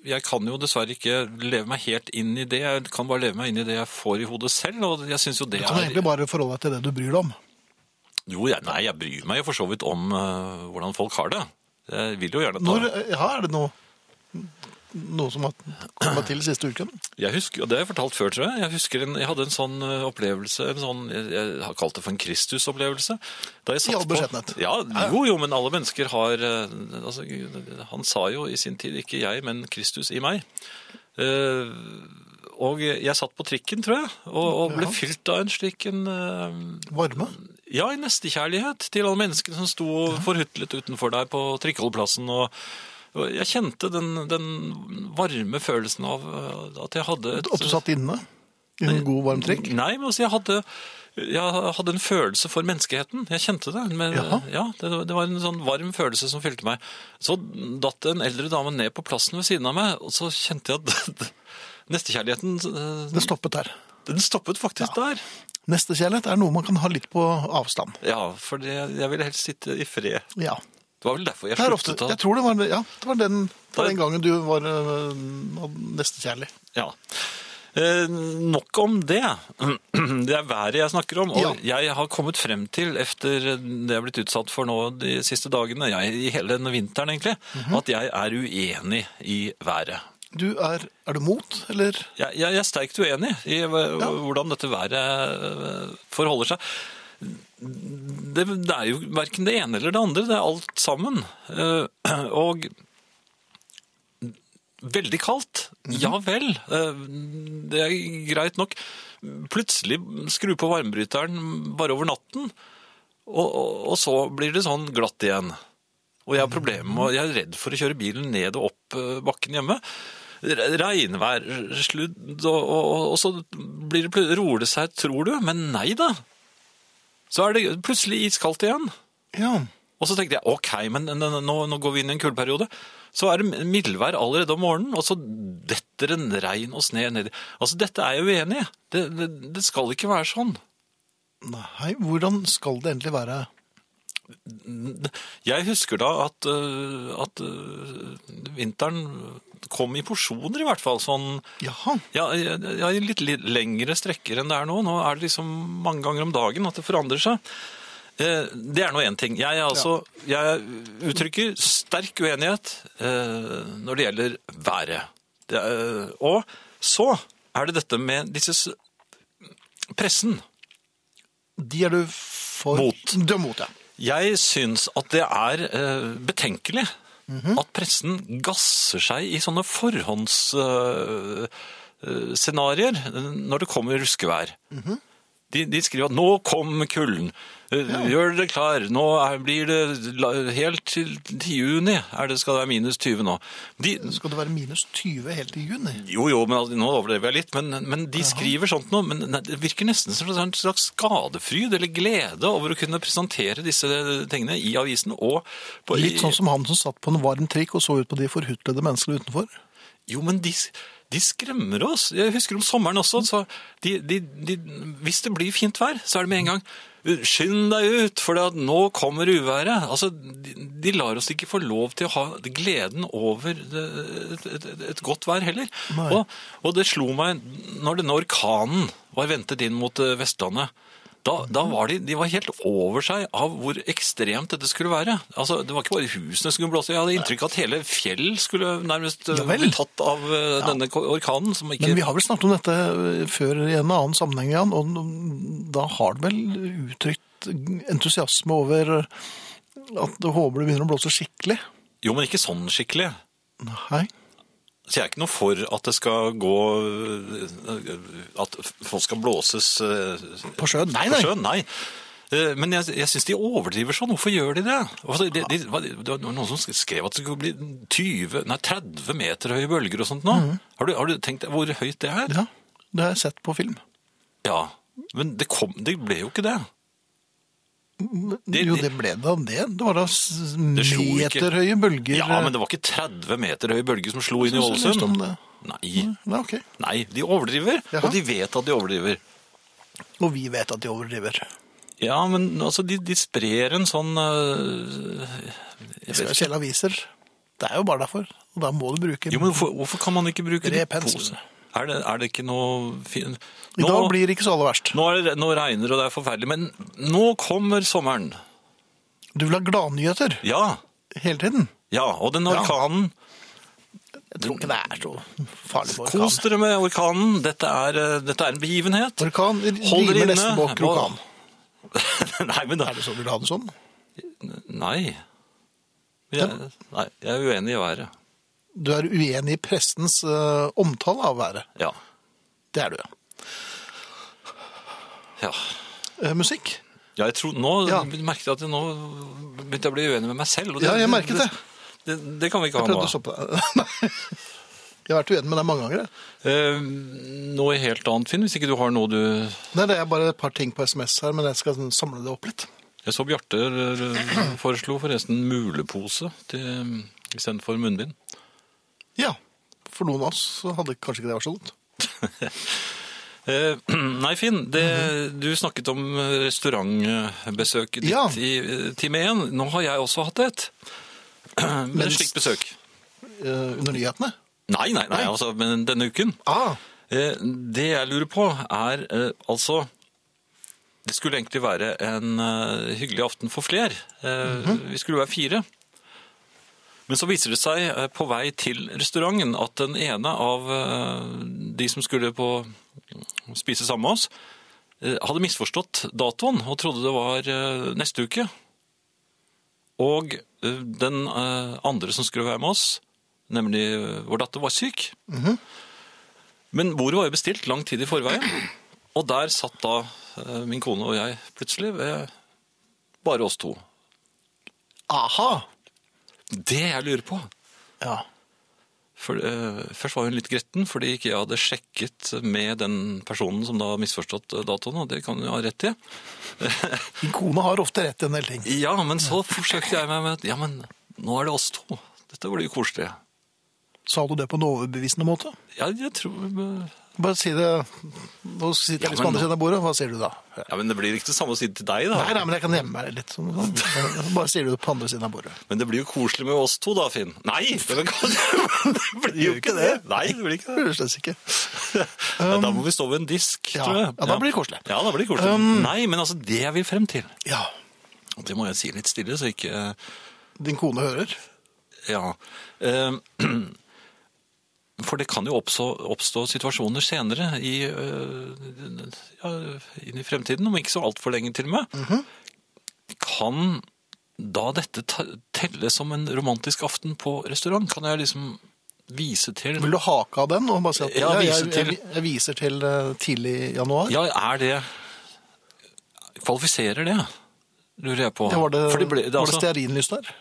Speaker 2: jeg kan jo dessverre ikke leve meg helt inn i det. Jeg kan bare leve meg inn i det jeg får i hodet selv, og jeg syns jo det
Speaker 1: Du kan egentlig
Speaker 2: er
Speaker 1: bare forholde deg til det du bryr deg om.
Speaker 2: Jo, jeg, nei, jeg bryr meg jo for så vidt om eh, hvordan folk har det. Jeg vil jo gjerne ta
Speaker 1: Når, eh, ja, er det noe, noe som har kommet til siste uken?
Speaker 2: Jeg husker, og det har jeg fortalt før, tror jeg. Jeg husker en, jeg hadde en sånn eh, opplevelse, en sånn, jeg, jeg har kalt det for en Kristus-opplevelse. Da jeg satt
Speaker 1: I all
Speaker 2: på-
Speaker 1: beskjedenhet.
Speaker 2: Ja, jo, jo, men alle mennesker har, eh, altså, han sa jo i sin tid, ikke jeg, men Kristus i meg. Eh, og jeg satt på trikken, tror jeg, og, og ble
Speaker 1: Ja.
Speaker 2: fylt av en slik en, eh,
Speaker 1: Varme?
Speaker 2: ja, en nestekjærlighet til alle menneskene som sto og forhutlet utenfor deg på Trikkeholdplassen og Jeg kjente den, den varme følelsen av eh, at jeg hadde et
Speaker 1: At du satt inne i en god, varm trikk?
Speaker 2: Nei, men altså, jeg hadde, jeg hadde en følelse for menneskeheten. Jeg kjente det. Men,
Speaker 1: Jaha.
Speaker 2: ja, det, det var en sånn varm følelse som fylte meg. Så datt en eldre dame ned på plassen ved siden av meg, og så kjente jeg at nestekjærligheten eh,
Speaker 1: Det stoppet der.
Speaker 2: Den stoppet faktisk der.
Speaker 1: Nestekjærlighet er noe man kan ha litt på avstand.
Speaker 2: Ja, for det, jeg ville helst sitte i fred.
Speaker 1: Ja.
Speaker 2: Det var vel derfor jeg
Speaker 1: Det er ofte,
Speaker 2: sluttet.
Speaker 1: jeg
Speaker 2: da.
Speaker 1: tror det var, ja, det var den, det var
Speaker 2: Der-
Speaker 1: den gangen du var øh, nestekjærlig.
Speaker 2: Ja. Eh, nok om det. Det er været jeg snakker om. Og jeg har kommet frem til, etter det jeg har blitt utsatt for nå de siste dagene, jeg, i hele denne vinteren egentlig,
Speaker 1: Mhm.
Speaker 2: at jeg er uenig i været.
Speaker 1: Du er Er du mot, eller?
Speaker 2: Jeg, jeg, jeg er sterkt uenig i hva- hvordan dette været eh, forholder seg. Det, det er jo hverken det ene eller det andre, det er alt sammen. Eh, Og veldig kaldt, ja vel, eh, det er greit nok. Plutselig skru på varmebryteren bare over natten, og, og, og så blir det sånn glatt igjen. Og jeg har problemer med, jeg er redd for å kjøre bilen ned og opp eh, bakken hjemme. Re- Regnvær, sludd, og, og, og- og så blir det, plut- roer det seg, tror du, men nei da. Så er det plutselig iskaldt igjen.
Speaker 1: Ja.
Speaker 2: Og så tenkte jeg, ok, men n- n- nå, nå går vi inn i en kuldeperiode. Så er det mildvær allerede om morgenen, og så detter en regn og sne ned. Altså, dette er jeg uenig i. Det, det, det skal ikke være sånn.
Speaker 1: Nei, hvordan skal det egentlig være?
Speaker 2: Jeg husker da at, øh, at øh, vinteren kom i porsjoner i hvert fall, sånn
Speaker 1: Jaha.
Speaker 2: ja, ja, ja, i litt, litt lengre strekker enn det er nå. Nå er det liksom mange ganger om dagen at det forandrer seg. Eh, Det er nå én ting. Jeg, er altså, jeg uttrykker sterk uenighet eh, når det gjelder været. Det er, og så er det dette med disse s- pressen.
Speaker 1: De er du for
Speaker 2: Mot.
Speaker 1: Du er mot, ja.
Speaker 2: Jeg syns at det er eh, betenkelig at pressen gasser seg i sånne forhåndsscenarioer når det kommer ruskevær. de, de skriver at 'nå kom kulden', eh, 'gjør dere klar', 'nå er, blir det la- helt til, til juni er det, skal det være minus 20 nå'. De,
Speaker 1: Skal det være minus 20 helt til juni?
Speaker 2: jo, jo, men altså, nå overdrev jeg litt, men, men de skriver sånt nå, men nei, det virker nesten som en slags skadefryd eller glede over å kunne presentere disse tingene i avisen og på...
Speaker 1: Litt sånn som han som satt på en varm trikk og så ut på de forhutlede menneskene utenfor.
Speaker 2: Jo, men de, de skremmer oss. Jeg husker om sommeren også, så de, de, de, hvis det blir fint vær, så er det med en gang Skynd deg ut, for det at nå kommer uværet. Altså, de, de lar oss ikke få lov til å ha gleden over det- et, et, et godt vær heller.
Speaker 1: Nei.
Speaker 2: Og, og det slo meg når denne orkanen var ventet inn mot eh, Vestlandet. Da, da var de, de var helt over seg av hvor ekstremt dette skulle være. Altså, det var ikke bare husene som skulle blåse. Jeg hadde inntrykk av at hele fjell skulle nærmest eh,
Speaker 1: Ja vel.
Speaker 2: bli tatt av eh, denne ko- orkanen. Som ikke...
Speaker 1: Men vi har vel snakket om dette eh, før i en annen sammenheng, Jan, og da har det vel uttrykt entusiasme over eh, at du håper det begynner å blåse skikkelig.
Speaker 2: Jo, men ikke sånn skikkelig.
Speaker 1: Nei.
Speaker 2: Så jeg er ikke noe for at det skal gå eh, At folk skal blåses eh,
Speaker 1: På sjøen? Nei,
Speaker 2: På
Speaker 1: nei.
Speaker 2: sjøen, nei. Eh, Men jeg, jeg syns de overdriver sånn. Hvorfor gjør de det? Altså, de, de, hva- det var noen som skrev at det skulle bli 20, nei, 30 meter høye bølger og sånt nå. Har, du, har du tenkt deg hvor høyt det er?
Speaker 1: Mhm. Ja, det har jeg sett på film.
Speaker 2: Ja. Men det, kom, det ble jo ikke det.
Speaker 1: Mm, jo, det ble da det. Det var da s-
Speaker 2: slo ikke.
Speaker 1: meterhøye bølger. eh.
Speaker 2: Ja, men det var ikke 30 meter høye bølger som slo inn i
Speaker 1: Jeg synes jeg leste om
Speaker 2: Ålesund.
Speaker 1: det.
Speaker 2: Nei.
Speaker 1: Nei, ok.
Speaker 2: Nei, de overdriver,
Speaker 1: Jaha.
Speaker 2: og de vet at de overdriver.
Speaker 1: Og vi vet at de overdriver.
Speaker 2: Ja, men altså, de, de sprer en sånn øh, jeg
Speaker 1: Vi skal
Speaker 2: vet
Speaker 1: jo
Speaker 2: ikke.
Speaker 1: selge aviser. Det er jo bare derfor. Og da må du bruke
Speaker 2: Jo, men hvorfor, hvorfor kan man ikke bruke
Speaker 1: Bred
Speaker 2: de
Speaker 1: pensel.
Speaker 2: posene? Er det, er det ikke noe fin...
Speaker 1: I
Speaker 2: Nå,
Speaker 1: dag blir det ikke så aller verst.
Speaker 2: nå, er det, nå regner det, og det er forferdelig, men nå kommer sommeren.
Speaker 1: Du vil ha gladnyheter
Speaker 2: Ja,
Speaker 1: hele tiden.
Speaker 2: ja, og den orkanen.
Speaker 1: Jeg tror ikke det er så farlig med orkan.
Speaker 2: Kos dere med orkanen. Dette er, øh, dette er en begivenhet.
Speaker 1: Orkan
Speaker 2: Hold dere
Speaker 1: rimer
Speaker 2: inne.
Speaker 1: nesten på krokan.
Speaker 2: nei, men da,
Speaker 1: Er det så du vil ha det sånn?
Speaker 2: nei. Jeg, nei, jeg er uenig i været.
Speaker 1: Du er uenig i prestens eh, omtale av været.
Speaker 2: Ja,
Speaker 1: Det er du, ja.
Speaker 2: ja.
Speaker 1: Eh, musikk?
Speaker 2: Ja, jeg tror, nå
Speaker 1: Ja.
Speaker 2: merket jeg at jeg nå begynte jeg å bli uenig med meg selv. og
Speaker 1: Ja, jeg merket det.
Speaker 2: Det, det kan vi ikke ha nå.
Speaker 1: Prøvde å stoppe deg. Nei. Jeg har vært uenig med deg mange ganger. jeg.
Speaker 2: Eh, noe helt annet, Finn, hvis ikke du har noe du
Speaker 1: Nei, det er bare et par ting på SMS her, men jeg skal sånn samle det opp litt.
Speaker 2: Jeg så Bjarte eh, foreslo forresten mulepose til- eh, istedenfor munnbind.
Speaker 1: Ja, for noen av oss så hadde kanskje ikke det vært så dumt.
Speaker 2: Eh, Nei, Finn, det, du snakket om restaurantbesøket ditt
Speaker 1: Mhm. Ja.
Speaker 2: i eh, time én. Nå har jeg også hatt et. Men
Speaker 1: Men-
Speaker 2: et slikt besøk.
Speaker 1: Eh, under nyhetene.
Speaker 2: Nei, nei, nei, altså, men denne uken.
Speaker 1: Ah,
Speaker 2: Eh, Det jeg lurer på er eh, altså Det skulle egentlig være en eh, hyggelig aften for fler. Eh, Vi skulle være fire. Men så viser det seg eh, på vei til restauranten at den ene av eh, de som skulle på spise sammen med oss, eh, hadde misforstått datoen og trodde det var eh, neste uke. Og eh, den eh, andre som skulle være med oss, nemlig eh, vår datter, var syk. Men bordet var jo bestilt lang tid i forveien. Og der satt da eh, min kone og jeg plutselig ved bare oss to.
Speaker 1: aha!
Speaker 2: Det jeg lurer på
Speaker 1: Ja.
Speaker 2: for, eh, Først var hun litt gretten fordi ikke jeg hadde sjekket med den personen som da har misforstått eh, datoen, og det kan hun ha rett i.
Speaker 1: Din kone har ofte rett i en del ting.
Speaker 2: Ja, men så forsøkte jeg meg med at ja, men nå er det oss to. Dette blir jo koselig.
Speaker 1: Sa du det på en overbevisende måte?
Speaker 2: Ja, jeg tror eh, Ja,
Speaker 1: Bare si det Nå sitter jeg
Speaker 2: Ja, men
Speaker 1: liksom på andre
Speaker 2: nå-
Speaker 1: siden av bordet, hva sier du da?
Speaker 2: men det blir ikke det samme å si det til deg,
Speaker 1: Nei, nei, men jeg kan gjemme meg litt. Sånn, sånn. Bare sier du det på andre siden av bordet.
Speaker 2: Men det blir jo koselig med oss to da, Finn. Nei, det blir jo ikke det. Nei, det blir ikke det.
Speaker 1: Det blir det slett ikke.
Speaker 2: Ja, da må vi stå ved en disk,
Speaker 1: Um, Ja.
Speaker 2: tror jeg.
Speaker 1: Ja, da blir det koselig. Um,
Speaker 2: Ja, da blir det koselig. Nei, men altså, det jeg vil frem til,
Speaker 1: Ja.
Speaker 2: og det må jeg si litt stille, så ikke eh,
Speaker 1: Din kone hører.
Speaker 2: Ja. Eh, For det kan jo oppstå, oppstå situasjoner senere i, eh, ja, inn i fremtiden, om ikke så altfor lenge til og med.
Speaker 1: Mhm.
Speaker 2: Kan da dette ta- telle som en romantisk aften på restaurant? Kan jeg liksom vise til
Speaker 1: Vil du hake av den og bare si at
Speaker 2: Ja,
Speaker 1: ja,
Speaker 2: vise
Speaker 1: jeg, jeg,
Speaker 2: til-
Speaker 1: jeg viser til eh, tidlig januar?
Speaker 2: Ja, er det Kvalifiserer det? Lurer jeg på.
Speaker 1: Det var det,
Speaker 2: For det, ble,
Speaker 1: var
Speaker 2: det,
Speaker 1: det
Speaker 2: altså,
Speaker 1: stearinlys der?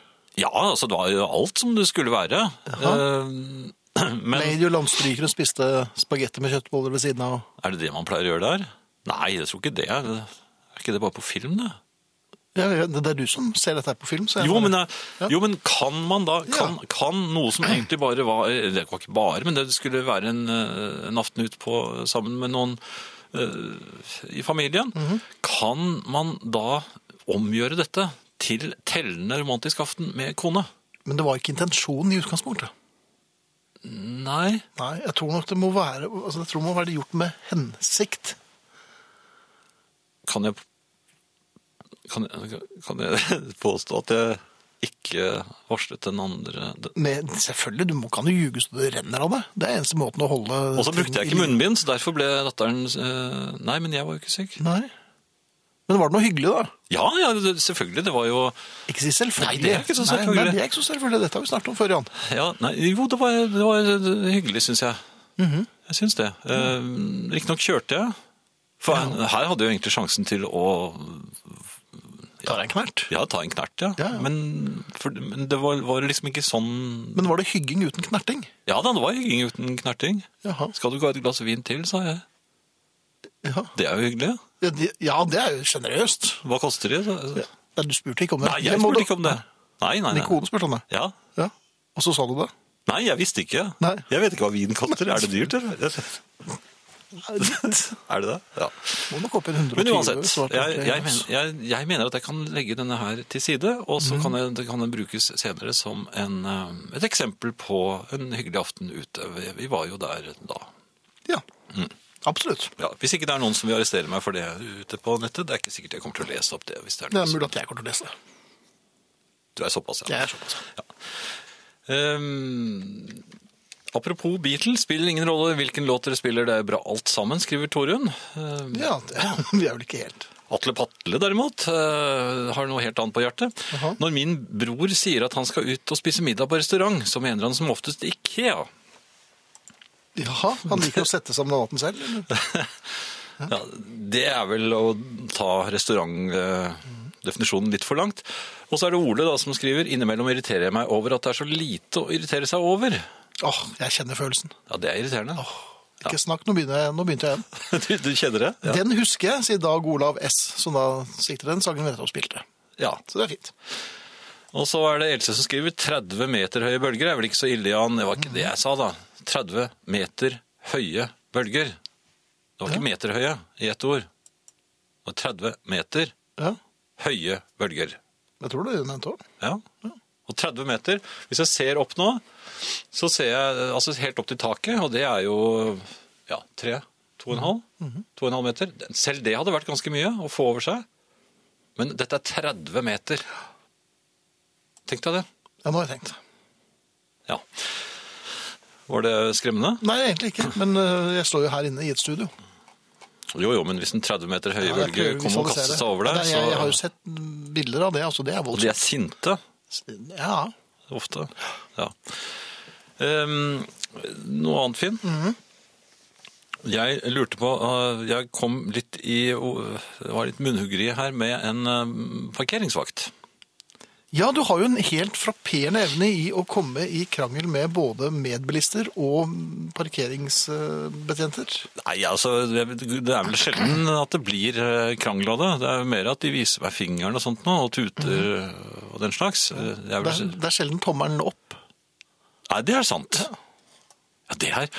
Speaker 2: Ja, altså det var jo alt som det skulle være. Eh, Men
Speaker 1: Lady og landstrykeren spiste spagetti med kjøttboller ved siden av.
Speaker 2: er det det man pleier å gjøre der? Nei, jeg tror ikke det. Er ikke det bare på film, det?
Speaker 1: Ja, ja, det er du som ser dette her på film. Så jeg
Speaker 2: Jo, men,
Speaker 1: bare-
Speaker 2: eh, jo, men kan man da kan, kan noe som egentlig bare var eh, Det var ikke bare, men det skulle være en, eh, en aften ut på sammen med noen eh, i familien. Kan man da omgjøre dette til tellende romantisk aften med kone?
Speaker 1: men det var ikke intensjonen i utgangspunktet.
Speaker 2: Nei.
Speaker 1: Nei, jeg tror nok det må være, altså, jeg tror det må være gjort med hensikt.
Speaker 2: Kan jeg Kan jeg, kan jeg påstå at jeg ikke varslet den andre
Speaker 1: Med, selvfølgelig, du må, kan jo ljuge så det renner av det. Det er eneste måten å holde
Speaker 2: Og så
Speaker 1: ting
Speaker 2: brukte jeg
Speaker 1: i
Speaker 2: ikke
Speaker 1: liv.
Speaker 2: munnbind, så derfor ble datteren eh, Nei, men jeg var jo ikke syk.
Speaker 1: Nei. Men var det noe hyggelig, da?
Speaker 2: Ja, ja, det- selvfølgelig. Det var jo
Speaker 1: Ikke si selvfølgelig.
Speaker 2: Nei, det er ikke så selvfølgelig.
Speaker 1: Nei, nei, det er ikke så selvfølgelig. Dette har vi snakket om før, Jan.
Speaker 2: Ja, nei, jo, det var, det var hyggelig, syns jeg.
Speaker 1: Mhm.
Speaker 2: Jeg syns det. Eh, Riktignok kjørte jeg. For her hadde jeg jo egentlig sjansen til å
Speaker 1: Tar jeg en knert?
Speaker 2: ja, ta en knert, ja.
Speaker 1: Ja, ja.
Speaker 2: Men, for, men det var, var liksom ikke sånn
Speaker 1: Men var det hygging uten knerting?
Speaker 2: Ja da, det var hygging uten knerting.
Speaker 1: Jaha.
Speaker 2: Skal du ikke ha et glass vin til, sa jeg.
Speaker 1: Ja,
Speaker 2: Det er jo hyggelig.
Speaker 1: ja, de, ja det er jo generøst.
Speaker 2: Hva koster det? sa jeg.
Speaker 1: Nei, du spurte ikke om det.
Speaker 2: Nei,
Speaker 1: Det
Speaker 2: jeg
Speaker 1: må
Speaker 2: spurte
Speaker 1: du-
Speaker 2: ikke om det. Nei, nei,
Speaker 1: Din
Speaker 2: nei.
Speaker 1: kone spurte om det.
Speaker 2: Ja.
Speaker 1: Ja. Og så sa du det.
Speaker 2: Nei, jeg visste ikke.
Speaker 1: Nei.
Speaker 2: Jeg vet ikke hva vin koster. Er det dyrt, eller? Er det det? Ja.
Speaker 1: Må nok opp i 120.
Speaker 2: Men uansett,
Speaker 1: svarte
Speaker 2: jeg,
Speaker 1: jeg,
Speaker 2: jeg, mener, jeg, jeg mener at jeg kan legge denne her til side, og
Speaker 1: Mhm.
Speaker 2: så kan, jeg, det kan den brukes senere som en, eh, et eksempel på en hyggelig aften ute. Vi, vi var jo der da.
Speaker 1: Ja,
Speaker 2: Mm.
Speaker 1: absolutt.
Speaker 2: Ja, hvis ikke det er noen som vil arrestere meg for det ute på nettet, det er ikke sikkert jeg kommer til å lese opp det. hvis det
Speaker 1: Det
Speaker 2: er
Speaker 1: er
Speaker 2: noen som...
Speaker 1: mulig at jeg kommer til å lese det.
Speaker 2: Du er såpass,
Speaker 1: Jeg er såpass.
Speaker 2: Ehm, apropos Beatles, spiller ingen rolle hvilken låt dere spiller, det er bra alt sammen, skriver Torunn. Ehm,
Speaker 1: Ja, det, vi er vel ikke helt
Speaker 2: Atle Patle derimot eh, har noe helt annet på hjertet.
Speaker 1: Jaha.
Speaker 2: Når min bror sier at han skal ut og spise middag på restaurant, så mener han som oftest IKEA.
Speaker 1: Jaha, han liker å sette sammen maten selv. eller?
Speaker 2: Ja, det er vel å ta restaurantgreiene definisjonen litt for langt. Og så er det Ole da som skriver innimellom irriterer jeg meg over at det er så lite å irritere seg over.
Speaker 1: Åh, jeg kjenner følelsen.
Speaker 2: Ja, det er irriterende.
Speaker 1: Ikke snakk, nå, begynner jeg, nå begynte jeg igjen.
Speaker 2: Du, du kjenner det? Ja.
Speaker 1: Den husker jeg, sier Dag Olav S, som da sikter den sangen vi nettopp spilte.
Speaker 2: ja.
Speaker 1: Så det er fint.
Speaker 2: Og så er det Else som skriver 30 meter høye bølger. er vel ikke så ille, Jan? Det var ikke det jeg sa, da. 30 meter høye bølger. Det var ikke meterhøye i ett ord. Det var 30 meter
Speaker 1: Ja,
Speaker 2: høye bølger.
Speaker 1: jeg tror det er nevnt også.
Speaker 2: Ja. Og 30 meter. Hvis jeg ser opp nå, så ser jeg eh, altså helt opp til taket, og det er jo ja, tre, to og en halv, to og en halv meter. Selv det hadde vært ganske mye å få over seg. Men dette er 30 meter. Tenk deg det.
Speaker 1: Ja, nå har jeg tenkt.
Speaker 2: Ja. Var det skremmende?
Speaker 1: Nei, egentlig ikke, men øh, jeg står jo her inne i et studio.
Speaker 2: Jo, jo, men hvis en 30 meter høy
Speaker 1: Ja, jeg
Speaker 2: bølge
Speaker 1: prøver å
Speaker 2: kommer og
Speaker 1: visualisere.
Speaker 2: kaster seg over deg,
Speaker 1: Nei,
Speaker 2: så
Speaker 1: jeg, jeg har jo sett bilder av det, altså det er
Speaker 2: Og
Speaker 1: voldsomt.
Speaker 2: de er sinte.
Speaker 1: Ja,
Speaker 2: Ofte. Ja. Ehm, noe annet, Finn?
Speaker 1: Mhm.
Speaker 2: Jeg lurte på eh, Jeg kom litt i o- Det var litt munnhuggeri her med en eh, parkeringsvakt.
Speaker 1: Ja, du har jo en helt frapperende evne i å komme i krangel med både medbilister og parkeringsbetjenter.
Speaker 2: Nei, altså, det det er vel sjelden at det blir eh, krangel av det. Det er jo mer at de viser meg fingeren og sånt nå, og tuter eh, og den slags. Eh, det er vel-
Speaker 1: Det er, det er sjelden tommelen opp.
Speaker 2: Nei, det er sant. Ja, det, er,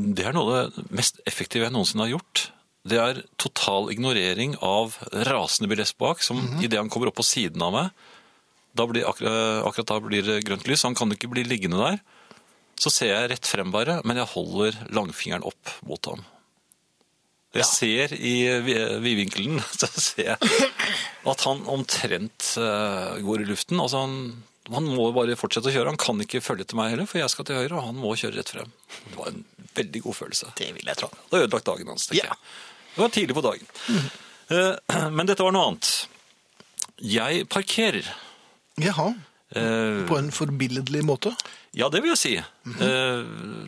Speaker 2: det er noe av det mest effektive jeg noensinne har gjort. Det er total ignorering av rasende bilist bak, som idet han kommer opp på siden av meg, da blir, akkurat, akkurat da blir det grønt lys, han kan jo ikke bli liggende der. Så ser jeg rett frem bare, men jeg holder langfingeren opp mot ham. Jeg ser i vi- vidvinkelen, så ser jeg at han omtrent eh, går i luften. Altså han, han må jo bare fortsette å kjøre. Han kan ikke følge etter meg heller, for jeg skal til høyre, og han må kjøre rett frem. Det var en veldig god følelse.
Speaker 1: Det vil jeg tro.
Speaker 2: Det har ødelagt dagen hans, tenker
Speaker 1: Ja.
Speaker 2: jeg. Det var tidlig på dagen. Eh, Men dette var noe annet. Jeg parkerer.
Speaker 1: Jaha,
Speaker 2: Eh,
Speaker 1: på en forbilledlig måte.
Speaker 2: Ja, det vil jeg si.
Speaker 1: Mhm.
Speaker 2: Eh,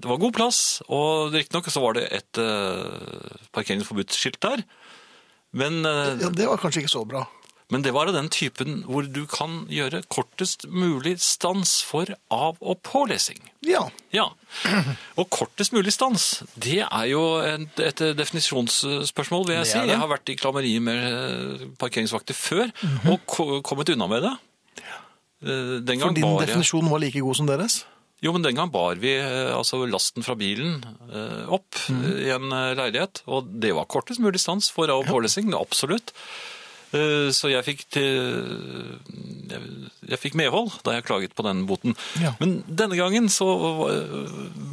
Speaker 2: Det var god plass, og riktignok så var det et eh, parkeringsforbudsskilt der. Men, eh,
Speaker 1: Ja, det var kanskje ikke så bra.
Speaker 2: men det var av den typen hvor du kan gjøre kortest mulig stans for av- og pålesing.
Speaker 1: Ja,
Speaker 2: Ja. Og kortest mulig stans, det er jo et, et eh, definisjonsspørsmål, vil jeg
Speaker 1: Det
Speaker 2: si.
Speaker 1: er det.
Speaker 2: Jeg har vært i klammeri med eh, parkeringsvakter før,
Speaker 1: Mhm.
Speaker 2: og ko- kommet unna med det. Eh, Den
Speaker 1: for
Speaker 2: gang
Speaker 1: din
Speaker 2: bar jeg-
Speaker 1: definisjon var like god som deres.
Speaker 2: Jo, men den gang bar vi eh, altså, lasten fra bilen eh, opp
Speaker 1: Mm.
Speaker 2: eh, i en eh, leilighet, og det var kortest mulig stans for av- og pålesing, det er absolutt. Eh, Så jeg fikk, til, jeg, jeg fikk medhold da jeg klaget på den boten.
Speaker 1: Ja.
Speaker 2: Men denne gangen så eh,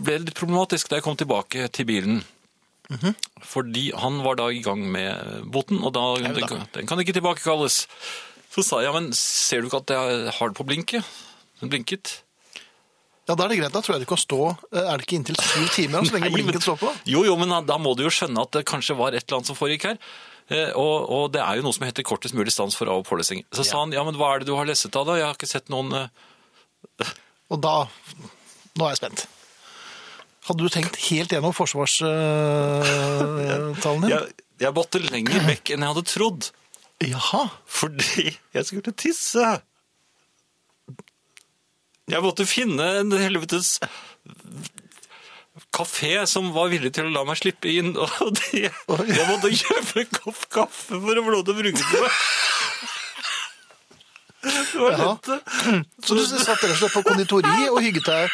Speaker 2: ble det litt problematisk da jeg kom tilbake til bilen.
Speaker 1: Mhm.
Speaker 2: Fordi han var da i gang med eh, boten, og da,
Speaker 1: Jau da.
Speaker 2: den, kan- den kan ikke tilbakekalles. Så sa jeg, men ser du ikke at jeg har det på blinket? Den blinket.
Speaker 1: Ja, da er det greit. Da tror jeg det kan stå eh, Er det ikke inntil syv timer så lenge
Speaker 2: Nei, men-
Speaker 1: blinken står sånn på?
Speaker 2: Jo, jo, men da- da må du jo skjønne at det kanskje var et eller annet som foregikk her. Eh, Og, og det er jo noe som heter kortest mulig stans for av- og pålesing. Så sa han, ja, men hva er det du har lesset av da? Jeg har ikke sett noen... eh,
Speaker 1: Og da Nå er jeg spent. Hadde du tenkt helt gjennom eh, forsvarstalen din?
Speaker 2: Jeg, jeg måtte lenger vekk enn jeg hadde trodd,
Speaker 1: Jaha.
Speaker 2: fordi jeg skulle tisse. Jeg måtte finne en helvetes kafé som var villig til å la meg slippe inn, og det, jeg måtte kjøpe en kopp kaffe for å få lov til å bruke det. Det var
Speaker 1: Ja.
Speaker 2: dette.
Speaker 1: Så du satt rett og slett på konditori og hygget deg.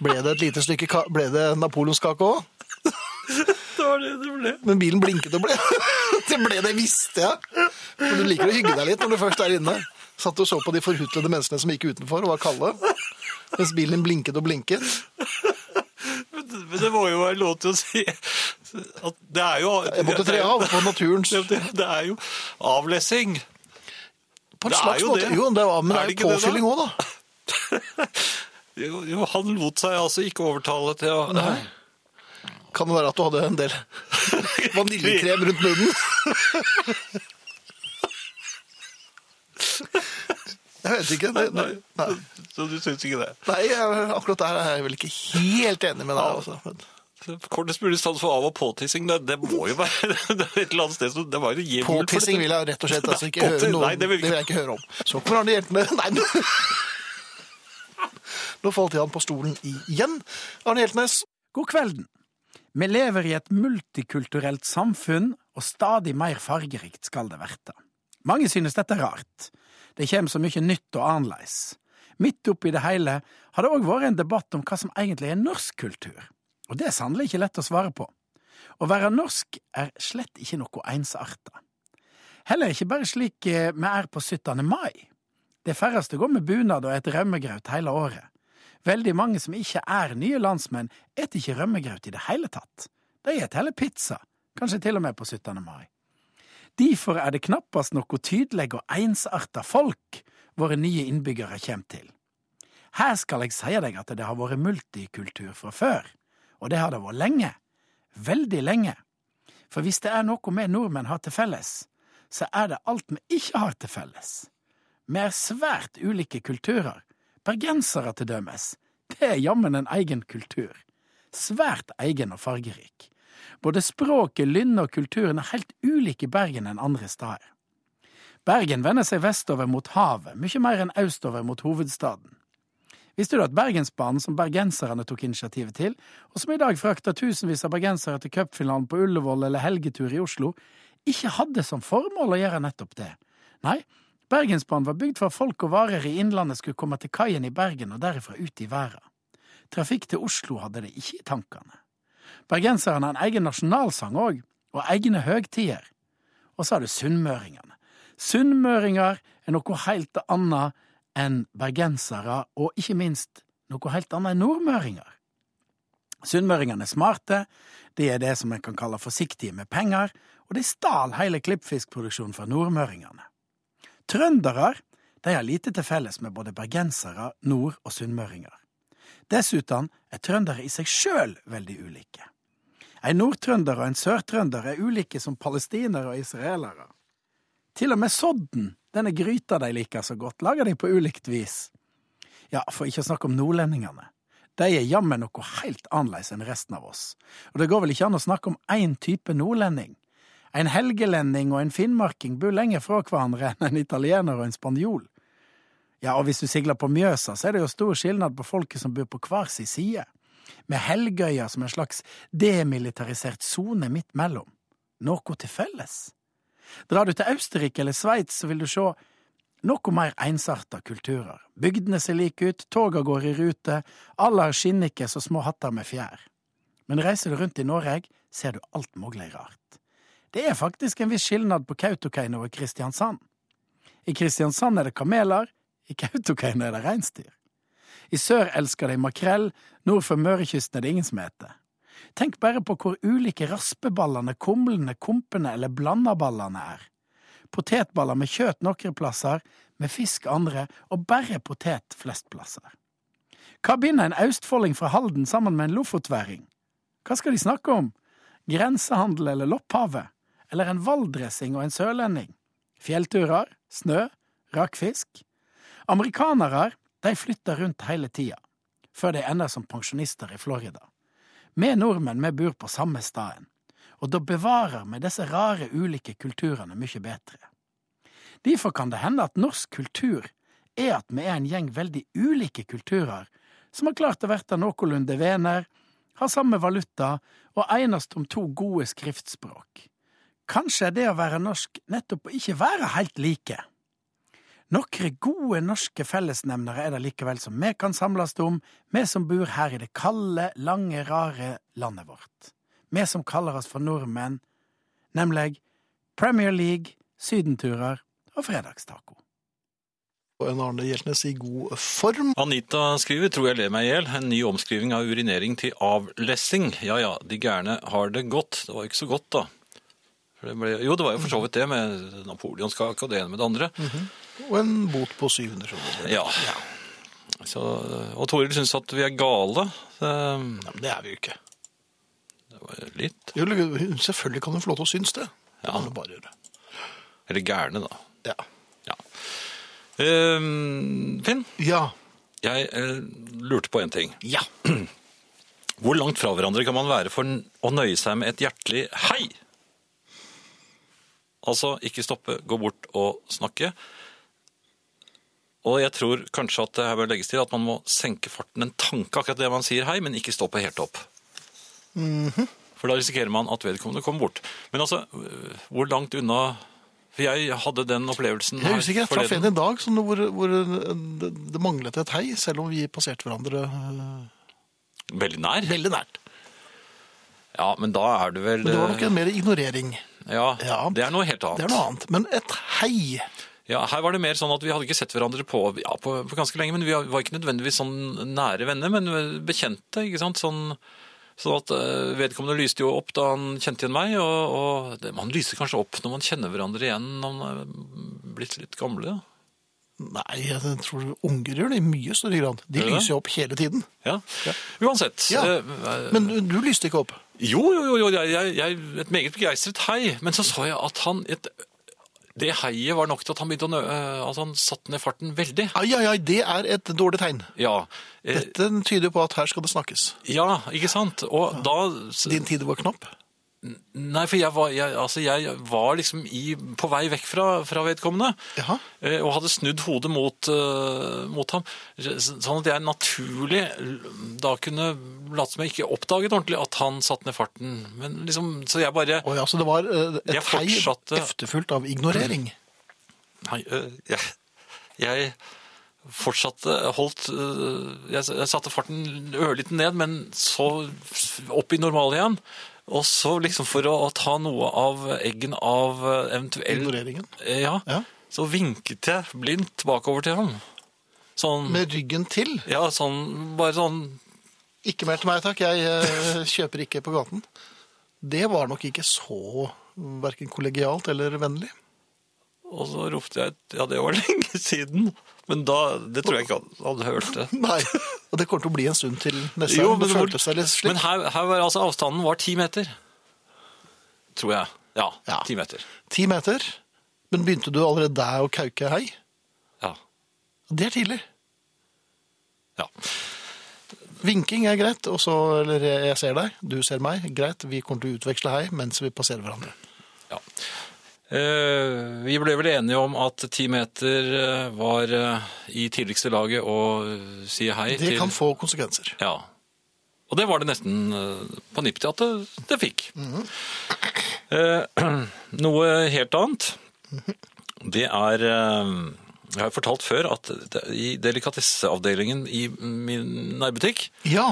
Speaker 1: Ble det et lite stykke ka Ble det napoleonskake òg?
Speaker 2: Det var det det ble.
Speaker 1: Men bilen blinket og ble. Det ble det, visste jeg. Men du liker å hygge deg litt når du først er inne. Satt og så på de forhutlede menneskene som gikk utenfor og var kalde. Mens bilen din blinket og blinket.
Speaker 2: Men det- Men det må jo være lov til å si at det er jo
Speaker 1: Jeg måtte tre av på naturens
Speaker 2: Det, det, det er jo avlesing.
Speaker 1: På en
Speaker 2: Det er
Speaker 1: slags
Speaker 2: jo
Speaker 1: måte.
Speaker 2: det.
Speaker 1: Jo, det var, men det
Speaker 2: Er
Speaker 1: er
Speaker 2: det
Speaker 1: jo
Speaker 2: ikke det, da?
Speaker 1: påfylling òg, da.
Speaker 2: Jo, jo, han lot seg altså ikke overtale til å
Speaker 1: Nei. Kan det være at du hadde en del vaniljekrem rundt munnen? Jeg vet ikke. Det, det, nei.
Speaker 2: Så du syns ikke det?
Speaker 1: Nei, jeg, akkurat der er jeg vel ikke helt enig med deg. Altså. Men
Speaker 2: Kortest mulig stans for av- og påtissing. Det, det må jo være det er et eller annet sted som Det var jo hjemmel for dette.
Speaker 1: Påtissing vil jeg rett og slett altså, ikke
Speaker 2: Nei,
Speaker 1: høre
Speaker 2: påti-
Speaker 1: noe
Speaker 2: nei, det vil vi ikke.
Speaker 1: jeg ikke høre om. Så kommer Arne Hjeltene Nei, nå- nå falt han på stolen igjen. Arne Hjeltnes,
Speaker 4: God kvelden. Vi lever i et multikulturelt samfunn, og stadig mer fargerikt skal det verte. Mange synes dette er rart. Det kommer så mye nytt og annerledes. Midt oppi det hele har det òg vært en debatt om hva som egentlig er norsk kultur, og det er sannelig ikke lett å svare på. Å være norsk er slett ikke noe ensarta. Heller ikke bare slik eh, vi er på 17. mai. De færreste går med bunad og et rømmegraut hele året. Veldig mange som ikke er nye landsmenn, et ikke rømmegraut i det hele tatt. De et heller pizza, kanskje til og med på 17. mai. Derfor er det knappast noe tydelig og ensarta folk våre nye innbyggere kjem til. Her skal jeg si deg at det har vært multikultur fra før, og det har det vært lenge. Veldig lenge. For hvis det er noe vi nordmenn har til felles, så er det alt vi ikke har til felles. Vi er svært ulike kulturer. Bergensere til dømes. Det er jammen en egen kultur. Svært egen og fargerik. Både språket, lynnet og kulturen er helt ulik i Bergen enn andre steder. Bergen vender seg vestover mot havet, mye mer enn østover mot hovedstaden. Visste du at Bergensbanen, som bergenserne tok initiativet til, og som i dag frakter tusenvis av bergensere til cupfinalen på Ullevål eller helgetur i Oslo, ikke hadde som formål å gjøre nettopp det? Nei, Bergensbanen var bygd for at folk og varer i Innlandet skulle komme til kaien i Bergen og derifra ut i verden. Trafikk til Oslo hadde de ikke i tankene. Bergenserne har en egen nasjonalsang òg, og egne høgtider. Og så har du sunnmøringene. Sunnmøringer er noe helt annet enn bergensere, og ikke minst noe helt annet enn nordmøringer. Sunnmøringene er smarte, de er det som en kan kalle forsiktige med penger, og de stal hele klippfiskproduksjonen fra nordmøringene. Trøndere de har lite til felles med både bergensere, nord- og sunnmøringer. Dessuten er trøndere i seg sjøl veldig ulike. En nordtrønder og en sørtrønder er ulike som palestinere og israelere. Til og med sodden, denne gryta de liker så godt, lager de på ulikt vis. Ja, for ikke å snakke om nordlendingene. De er jammen noe helt annerledes enn resten av oss. Og det går vel ikke an å snakke om én type nordlending. En helgelending og en finnmarking bor lenger fra hverandre enn en italiener og en spanjol. Ja, og hvis du sigler på Mjøsa, så er det jo stor skilnad på folket som bor på hver sin side, med Helgøya som en slags demilitarisert sone midt mellom. Noe til felles. Drar du til Østerrike eller Sveits, så vil du se noe mer ensarta kulturer. Bygdene ser like ut, toga går i rute, alle har skinnikkes og små hatter med fjær. Men reiser du rundt i Norge, ser du alt mulig rart. Det er faktisk en viss skilnad på Kautokeino og Kristiansand. I Kristiansand er det kameler, i Kautokeino er det reinsdyr. I sør elsker de makrell, nord for Mørekysten er det ingen som heter. Tenk bare på hvor ulike raspeballene, kumlene, kompene eller blandaballene er. Potetballer med kjøtt noen plasser, med fisk andre, og bare potet flest plasser. Hva binder en østfolding fra Halden sammen med en lofotværing? Hva skal de snakke om? Grensehandel eller lopphavet? Eller en valldressing og en sørlending? Fjellturer? Snø? Rakfisk? Amerikanere, de flytter rundt hele tida, før de ender som pensjonister i Florida. Vi nordmenn vi bor på samme staden, og da bevarer vi disse rare ulike kulturene mye bedre. Derfor kan det hende at norsk kultur er at vi er en gjeng veldig ulike kulturer som har klart å verte noenlunde venner, har samme valuta og enes om to gode skriftspråk. Kanskje er det å være norsk nettopp å ikke være helt like. Nokre gode norske fellesnevnere er det likevel som vi kan samles om, vi som bor her i det kalde, lange, rare landet vårt. Vi som kaller oss for nordmenn, nemlig Premier League, sydenturer og fredagstaco.
Speaker 1: og en Arne Hjeltnes i god form.
Speaker 2: Anita skriver, tror jeg ler meg i hjel, en ny omskriving av urinering til avlessing. Ja ja, de gærne har det godt. Det var jo ikke så godt, da. For det ble, jo, det var jo for så vidt det, med napoleonskake og det ene med det andre.
Speaker 1: Mhm. Og en bot på 700 kroner.
Speaker 2: Ja. Så, og Toril syns at vi er gale. Ehm,
Speaker 1: Nei, men det er vi jo ikke.
Speaker 2: Det var litt.
Speaker 1: Jo, selvfølgelig kan du få lov til å synes det. Det
Speaker 2: Ja.
Speaker 1: kan du bare gjøre.
Speaker 2: Eller gærne, da.
Speaker 1: Ja.
Speaker 2: Ja. Ehm, Finn,
Speaker 1: Ja.
Speaker 2: jeg eh, lurte på en ting.
Speaker 1: Ja.
Speaker 2: Hvor langt fra hverandre kan man være for å nøye seg med et hjertelig hei? Altså, ikke stoppe, gå bort og snakke. Og jeg tror kanskje at det her bør legges til at man må senke farten en tanke akkurat det man sier hei, men ikke stoppe helt opp.
Speaker 1: Mhm.
Speaker 2: For da risikerer man at vedkommende kommer bort. Men altså, øh, hvor langt unna For jeg hadde den opplevelsen
Speaker 1: Jeg er usikker. Jeg traff
Speaker 2: forleden.
Speaker 1: en i dag som, hvor, hvor det, det manglet et hei, selv om vi passerte hverandre eh,
Speaker 2: Veldig nær.
Speaker 1: veldig nært.
Speaker 2: Ja, men da er du vel eh,
Speaker 1: Men det var nok en mer ignorering.
Speaker 2: ja,
Speaker 1: Ja.
Speaker 2: det er noe helt annet.
Speaker 1: Det er noe annet. Men et hei
Speaker 2: Ja, her var det mer sånn at vi hadde ikke sett hverandre på, ja, på, på ganske lenge, men vi var ikke nødvendigvis sånn nære venner, men eh, bekjente, ikke sant? Sånn, sånn at eh, vedkommende lyste jo opp da han kjente igjen meg, og, og det, man lyser kanskje opp når man kjenner hverandre igjen når man er blitt litt gamle.
Speaker 1: Nei, jeg tror unger gjør det i mye større grad. De
Speaker 2: Gjør det?
Speaker 1: lyser jo opp hele tiden.
Speaker 2: Ja, uansett.
Speaker 1: Ja.
Speaker 2: eh,
Speaker 1: Men du, du lyste ikke opp.
Speaker 2: Jo, jo, jo, jo jeg, jeg, jeg, et meget begeistret hei, men så så jeg at han... Et, det heiet var nok til at han begynte å nø... eh, At han satt ned farten veldig.
Speaker 1: Ai, ai, ai, det er et dårlig tegn.
Speaker 2: Ja, eh,
Speaker 1: Dette tyder på at her skal det snakkes.
Speaker 2: ja ikke sant? Og da...
Speaker 1: Din tid var knapp.
Speaker 2: Nei, for jeg var, jeg, altså jeg var liksom i, på vei vekk fra, fra vedkommende.
Speaker 1: Jaha.
Speaker 2: eh, Og hadde snudd hodet mot, eh, mot ham. så- Sånn at jeg naturlig l- da kunne late som jeg ikke oppdaget ordentlig at han satt ned farten. Men liksom, så jeg bare
Speaker 1: Å ja, så det var eh, et
Speaker 2: Jeg
Speaker 1: hei
Speaker 2: fortsatte-
Speaker 1: efterfulgt av ignorering.
Speaker 2: Mm. Nei, øh, jeg, jeg fortsatte, holdt øh, Jeg, jeg satte farten ørliten ned, men så opp i normal igjen. Og så liksom for å, å ta noe av eggen av øh, eventuell
Speaker 1: Ignoreringen.
Speaker 2: Eh, Ja.
Speaker 1: Ja.
Speaker 2: Så vinket jeg blindt bakover til ham. Sånn
Speaker 1: Med ryggen til.
Speaker 2: Ja, sånn Bare sånn
Speaker 1: Ikke mer til meg, takk. Jeg eh, kjøper ikke på gaten. Det var nok ikke så verken kollegialt eller vennlig.
Speaker 2: Og så ropte jeg et Ja, det var lenge siden. Men da Det tror jeg ikke han, han hørte.
Speaker 1: Nei, og det kommer til å bli en stund til neste
Speaker 2: Jo,
Speaker 1: gang. Det
Speaker 2: men hvor-
Speaker 1: føltes seg litt
Speaker 2: Men
Speaker 1: slik.
Speaker 2: her, her var altså avstanden var ti meter. Tror jeg. Ja,
Speaker 1: Ja.
Speaker 2: ti meter.
Speaker 1: Ti meter, men begynte du allerede der å kauke hei?
Speaker 2: Ja.
Speaker 1: Det er tidlig.
Speaker 2: ja.
Speaker 1: Vinking er greit, og så, eller jeg ser deg, du ser meg, greit, vi kommer til å utveksle hei mens vi passerer hverandre.
Speaker 2: ja. Eh, vi ble vel enige om at ti meter eh, var eh, i tidligste laget å eh, si hei
Speaker 1: Det kan få konsekvenser.
Speaker 2: Ja. Og det var det nesten eh, på nippet til at det, det fikk. Eh, noe helt annet, det er eh, Jeg har fortalt før at det, i delikatesseavdelingen i min nærbutikk,
Speaker 1: Ja,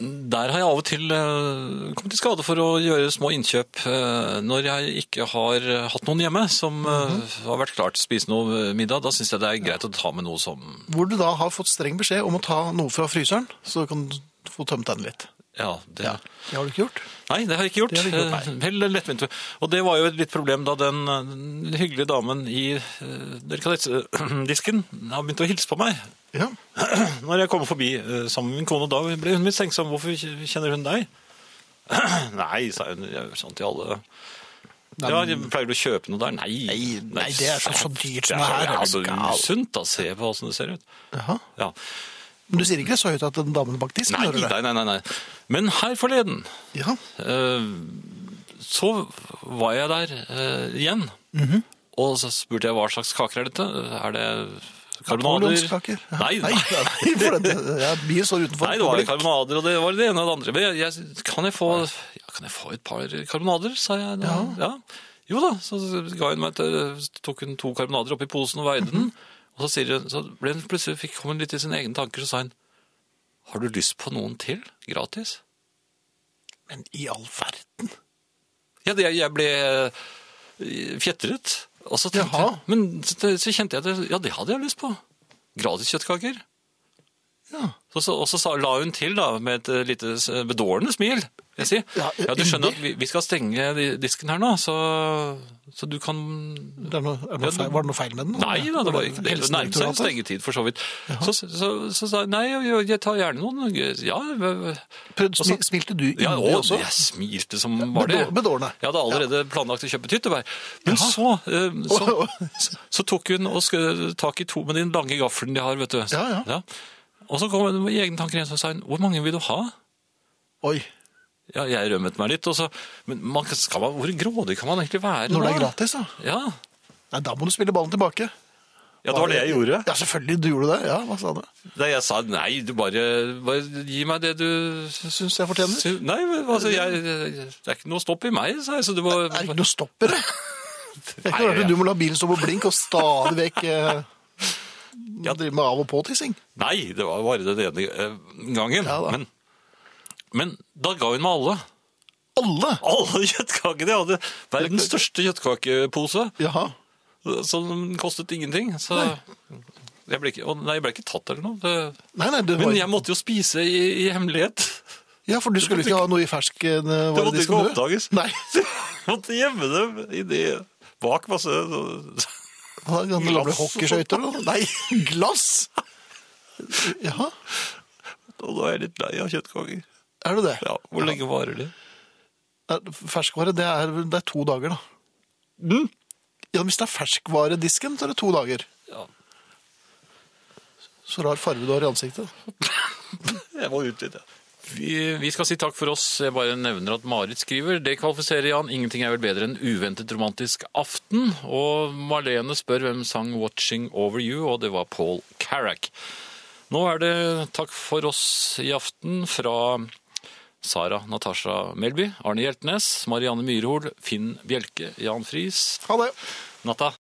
Speaker 2: der har jeg av og til eh, kommet i skade for å gjøre små innkjøp eh, når jeg ikke har eh, hatt noen hjemme som eh, har vært klar til å spise noe middag. Da syns jeg det er greit å ta med noe som
Speaker 1: hvor du da har fått streng beskjed om å ta noe fra fryseren, så du kan få tømt den litt.
Speaker 2: Ja, det
Speaker 1: Ja, det har du ikke gjort.
Speaker 2: Nei, det har jeg ikke gjort.
Speaker 1: Det har du ikke gjort,
Speaker 2: Eh, Vel lettvint. Og det var jo et litt problem da den, eh, den hyggelige damen i eh, delikatessedisken har begynt å hilse på meg.
Speaker 1: Ja,
Speaker 2: Når jeg kommer forbi eh, sammen med min kone, da ble hun mistenksom. Hvorfor kjenner hun deg? Nei, sa hun. Jeg gjør sånt til alle. Ja, jeg pleier du å kjøpe noe der? Nei.
Speaker 1: nei, det er så- så dyrt som
Speaker 2: det
Speaker 1: det her,
Speaker 2: er.
Speaker 1: er
Speaker 2: så
Speaker 1: du gal?
Speaker 2: usunt å se på åssen det ser ut.
Speaker 1: Jaha.
Speaker 2: Ja.
Speaker 1: Men du sier ikke det så høyt at den damen bak disken
Speaker 2: Nei,
Speaker 1: hører det?
Speaker 2: nei, nei, nei, nei. Men her forleden
Speaker 1: Ja.
Speaker 2: Eh, så var jeg der eh, igjen,
Speaker 1: Mhm.
Speaker 2: og så spurte jeg hva slags kaker er dette? Er det karbonader?
Speaker 1: Napoleonskaker? Ja.
Speaker 2: Nei, nei,
Speaker 1: nei, for det- ja, bilen står utenfor.
Speaker 2: nei, det var karbonader, og det var det ene og det andre. Men jeg, jeg, kan, jeg få, ja, kan jeg få et par karbonader, sa jeg. Ja. ja. Jo da, så ga hun meg et, eh, tok hun to karbonader oppi posen og veide
Speaker 1: Mhm.
Speaker 2: den, og så, sier hun, så ble hun plutselig fikk kom hun litt i sine egne tanker, så sa hun, har du lyst på noen til, gratis?
Speaker 1: Men i all verden.
Speaker 2: Ja, det, jeg ble eh, fjetret. Og så tenkte
Speaker 1: Jaha.
Speaker 2: jeg, men så, så kjente jeg at ja, det hadde jeg lyst på. Gratis kjøttkaker.
Speaker 1: Ja.
Speaker 2: Så, så, og så sa, la hun til da, med et eh, lite s- bedårende smil. Jeg sier,
Speaker 1: Ja,
Speaker 2: ja, du skjønner
Speaker 1: yndig.
Speaker 2: at vi, vi skal stenge di- disken her nå, så, så du kan...
Speaker 1: Det er noe, er det noe
Speaker 2: Ja,
Speaker 1: feil, var det noe feil med den?
Speaker 2: Nei, da, det var ikke det. Det nærmet seg
Speaker 1: Helsedirektoratet?
Speaker 2: stengetid for så vidt. Så, så, så, sa jeg, nei, jeg, jeg tar gjerne noen. Ja, v- v-
Speaker 1: Prøvd- smi- Smilte du
Speaker 2: Altså- ja,
Speaker 1: inni
Speaker 2: og
Speaker 1: også?
Speaker 2: jeg smilte som var det.
Speaker 1: bedå- bedårende.
Speaker 2: Jeg hadde allerede planlagt å kjøpe tyttebær. Men så, eh,
Speaker 1: Å,
Speaker 2: så, så tok hun og skø- tak i to med den lange gaffelen de har, vet du.
Speaker 1: Ja, ja.
Speaker 2: Og så kom hun i egne tanker igjen, så sa hun, hvor mange vil du ha?
Speaker 1: Oi,
Speaker 2: Ja, jeg rømmet meg litt, og så Men man kan- skal man, hvor grådig kan man egentlig være?
Speaker 1: når det
Speaker 2: da?
Speaker 1: er gratis, da.
Speaker 2: Ja.
Speaker 1: Nei, da må du spille ballen tilbake.
Speaker 2: ja, det var det jeg gjorde.
Speaker 1: Ja, selvfølgelig du gjorde det. Ja, hva sa du?
Speaker 2: Da jeg sa nei, du bare, bare gi meg det du
Speaker 1: Syns jeg fortjener.
Speaker 2: sy- Nei, men altså, jeg, det er ikke noe stopp i meg, sa jeg, så du må
Speaker 1: Det er ikke noe stopp i det. Jeg
Speaker 2: Nei,
Speaker 1: kan høre
Speaker 2: ja.
Speaker 1: at du må la bilen stå på blink og stadig vekk eh, drive med av- og påtissing.
Speaker 2: Nei, det var bare den ene eh, gangen.
Speaker 1: Ja da.
Speaker 2: men, men da ga hun meg alle.
Speaker 1: Alle!
Speaker 2: Alle kjøttkakene! Jeg hadde verdens største kjøttkakepose,
Speaker 1: Jaha.
Speaker 2: som kostet ingenting. Så jeg ble ikke, og nei, jeg ble ikke tatt eller noe. Det,
Speaker 1: Nei, nei, det var...
Speaker 2: men jeg måtte jo spise i, i hemmelighet.
Speaker 1: Ja, for du skulle ikke ha noe i fersken? eh,
Speaker 2: Det
Speaker 1: var
Speaker 2: måtte
Speaker 1: som
Speaker 2: ikke
Speaker 1: du-
Speaker 2: oppdages.
Speaker 1: Nei,
Speaker 2: Jeg måtte gjemme dem i det bak masse
Speaker 1: da kan det bli
Speaker 2: Glass.
Speaker 1: hockeyskøyter eller noe. Nei, glass! Jaha,
Speaker 2: Og da er jeg litt lei av kjøttkaker.
Speaker 1: er du det?
Speaker 2: Ja, hvor lenge varer det?
Speaker 1: Nei, Ferskvare, det er, det er to dager da. Mm. Ja, hvis det er ferskvaredisken, så er det to dager.
Speaker 2: Ja,
Speaker 1: Så rar farve du har i ansiktet.
Speaker 2: Jeg må ut litt, ja. Vi, vi skal si takk for oss. Jeg bare nevner at Marit skriver. Det kvalifiserer Jan. Ingenting er vel bedre enn uventet romantisk aften. Og Marlene spør hvem sang 'Watching Over You', og det var Paul Carrack. Nå er det takk for oss i aften fra Sara Natasha Melby, Arne Hjeltnes, Marianne Myrhol, Finn Bjelke, Jan Friis.
Speaker 1: Ha det!
Speaker 2: Natta.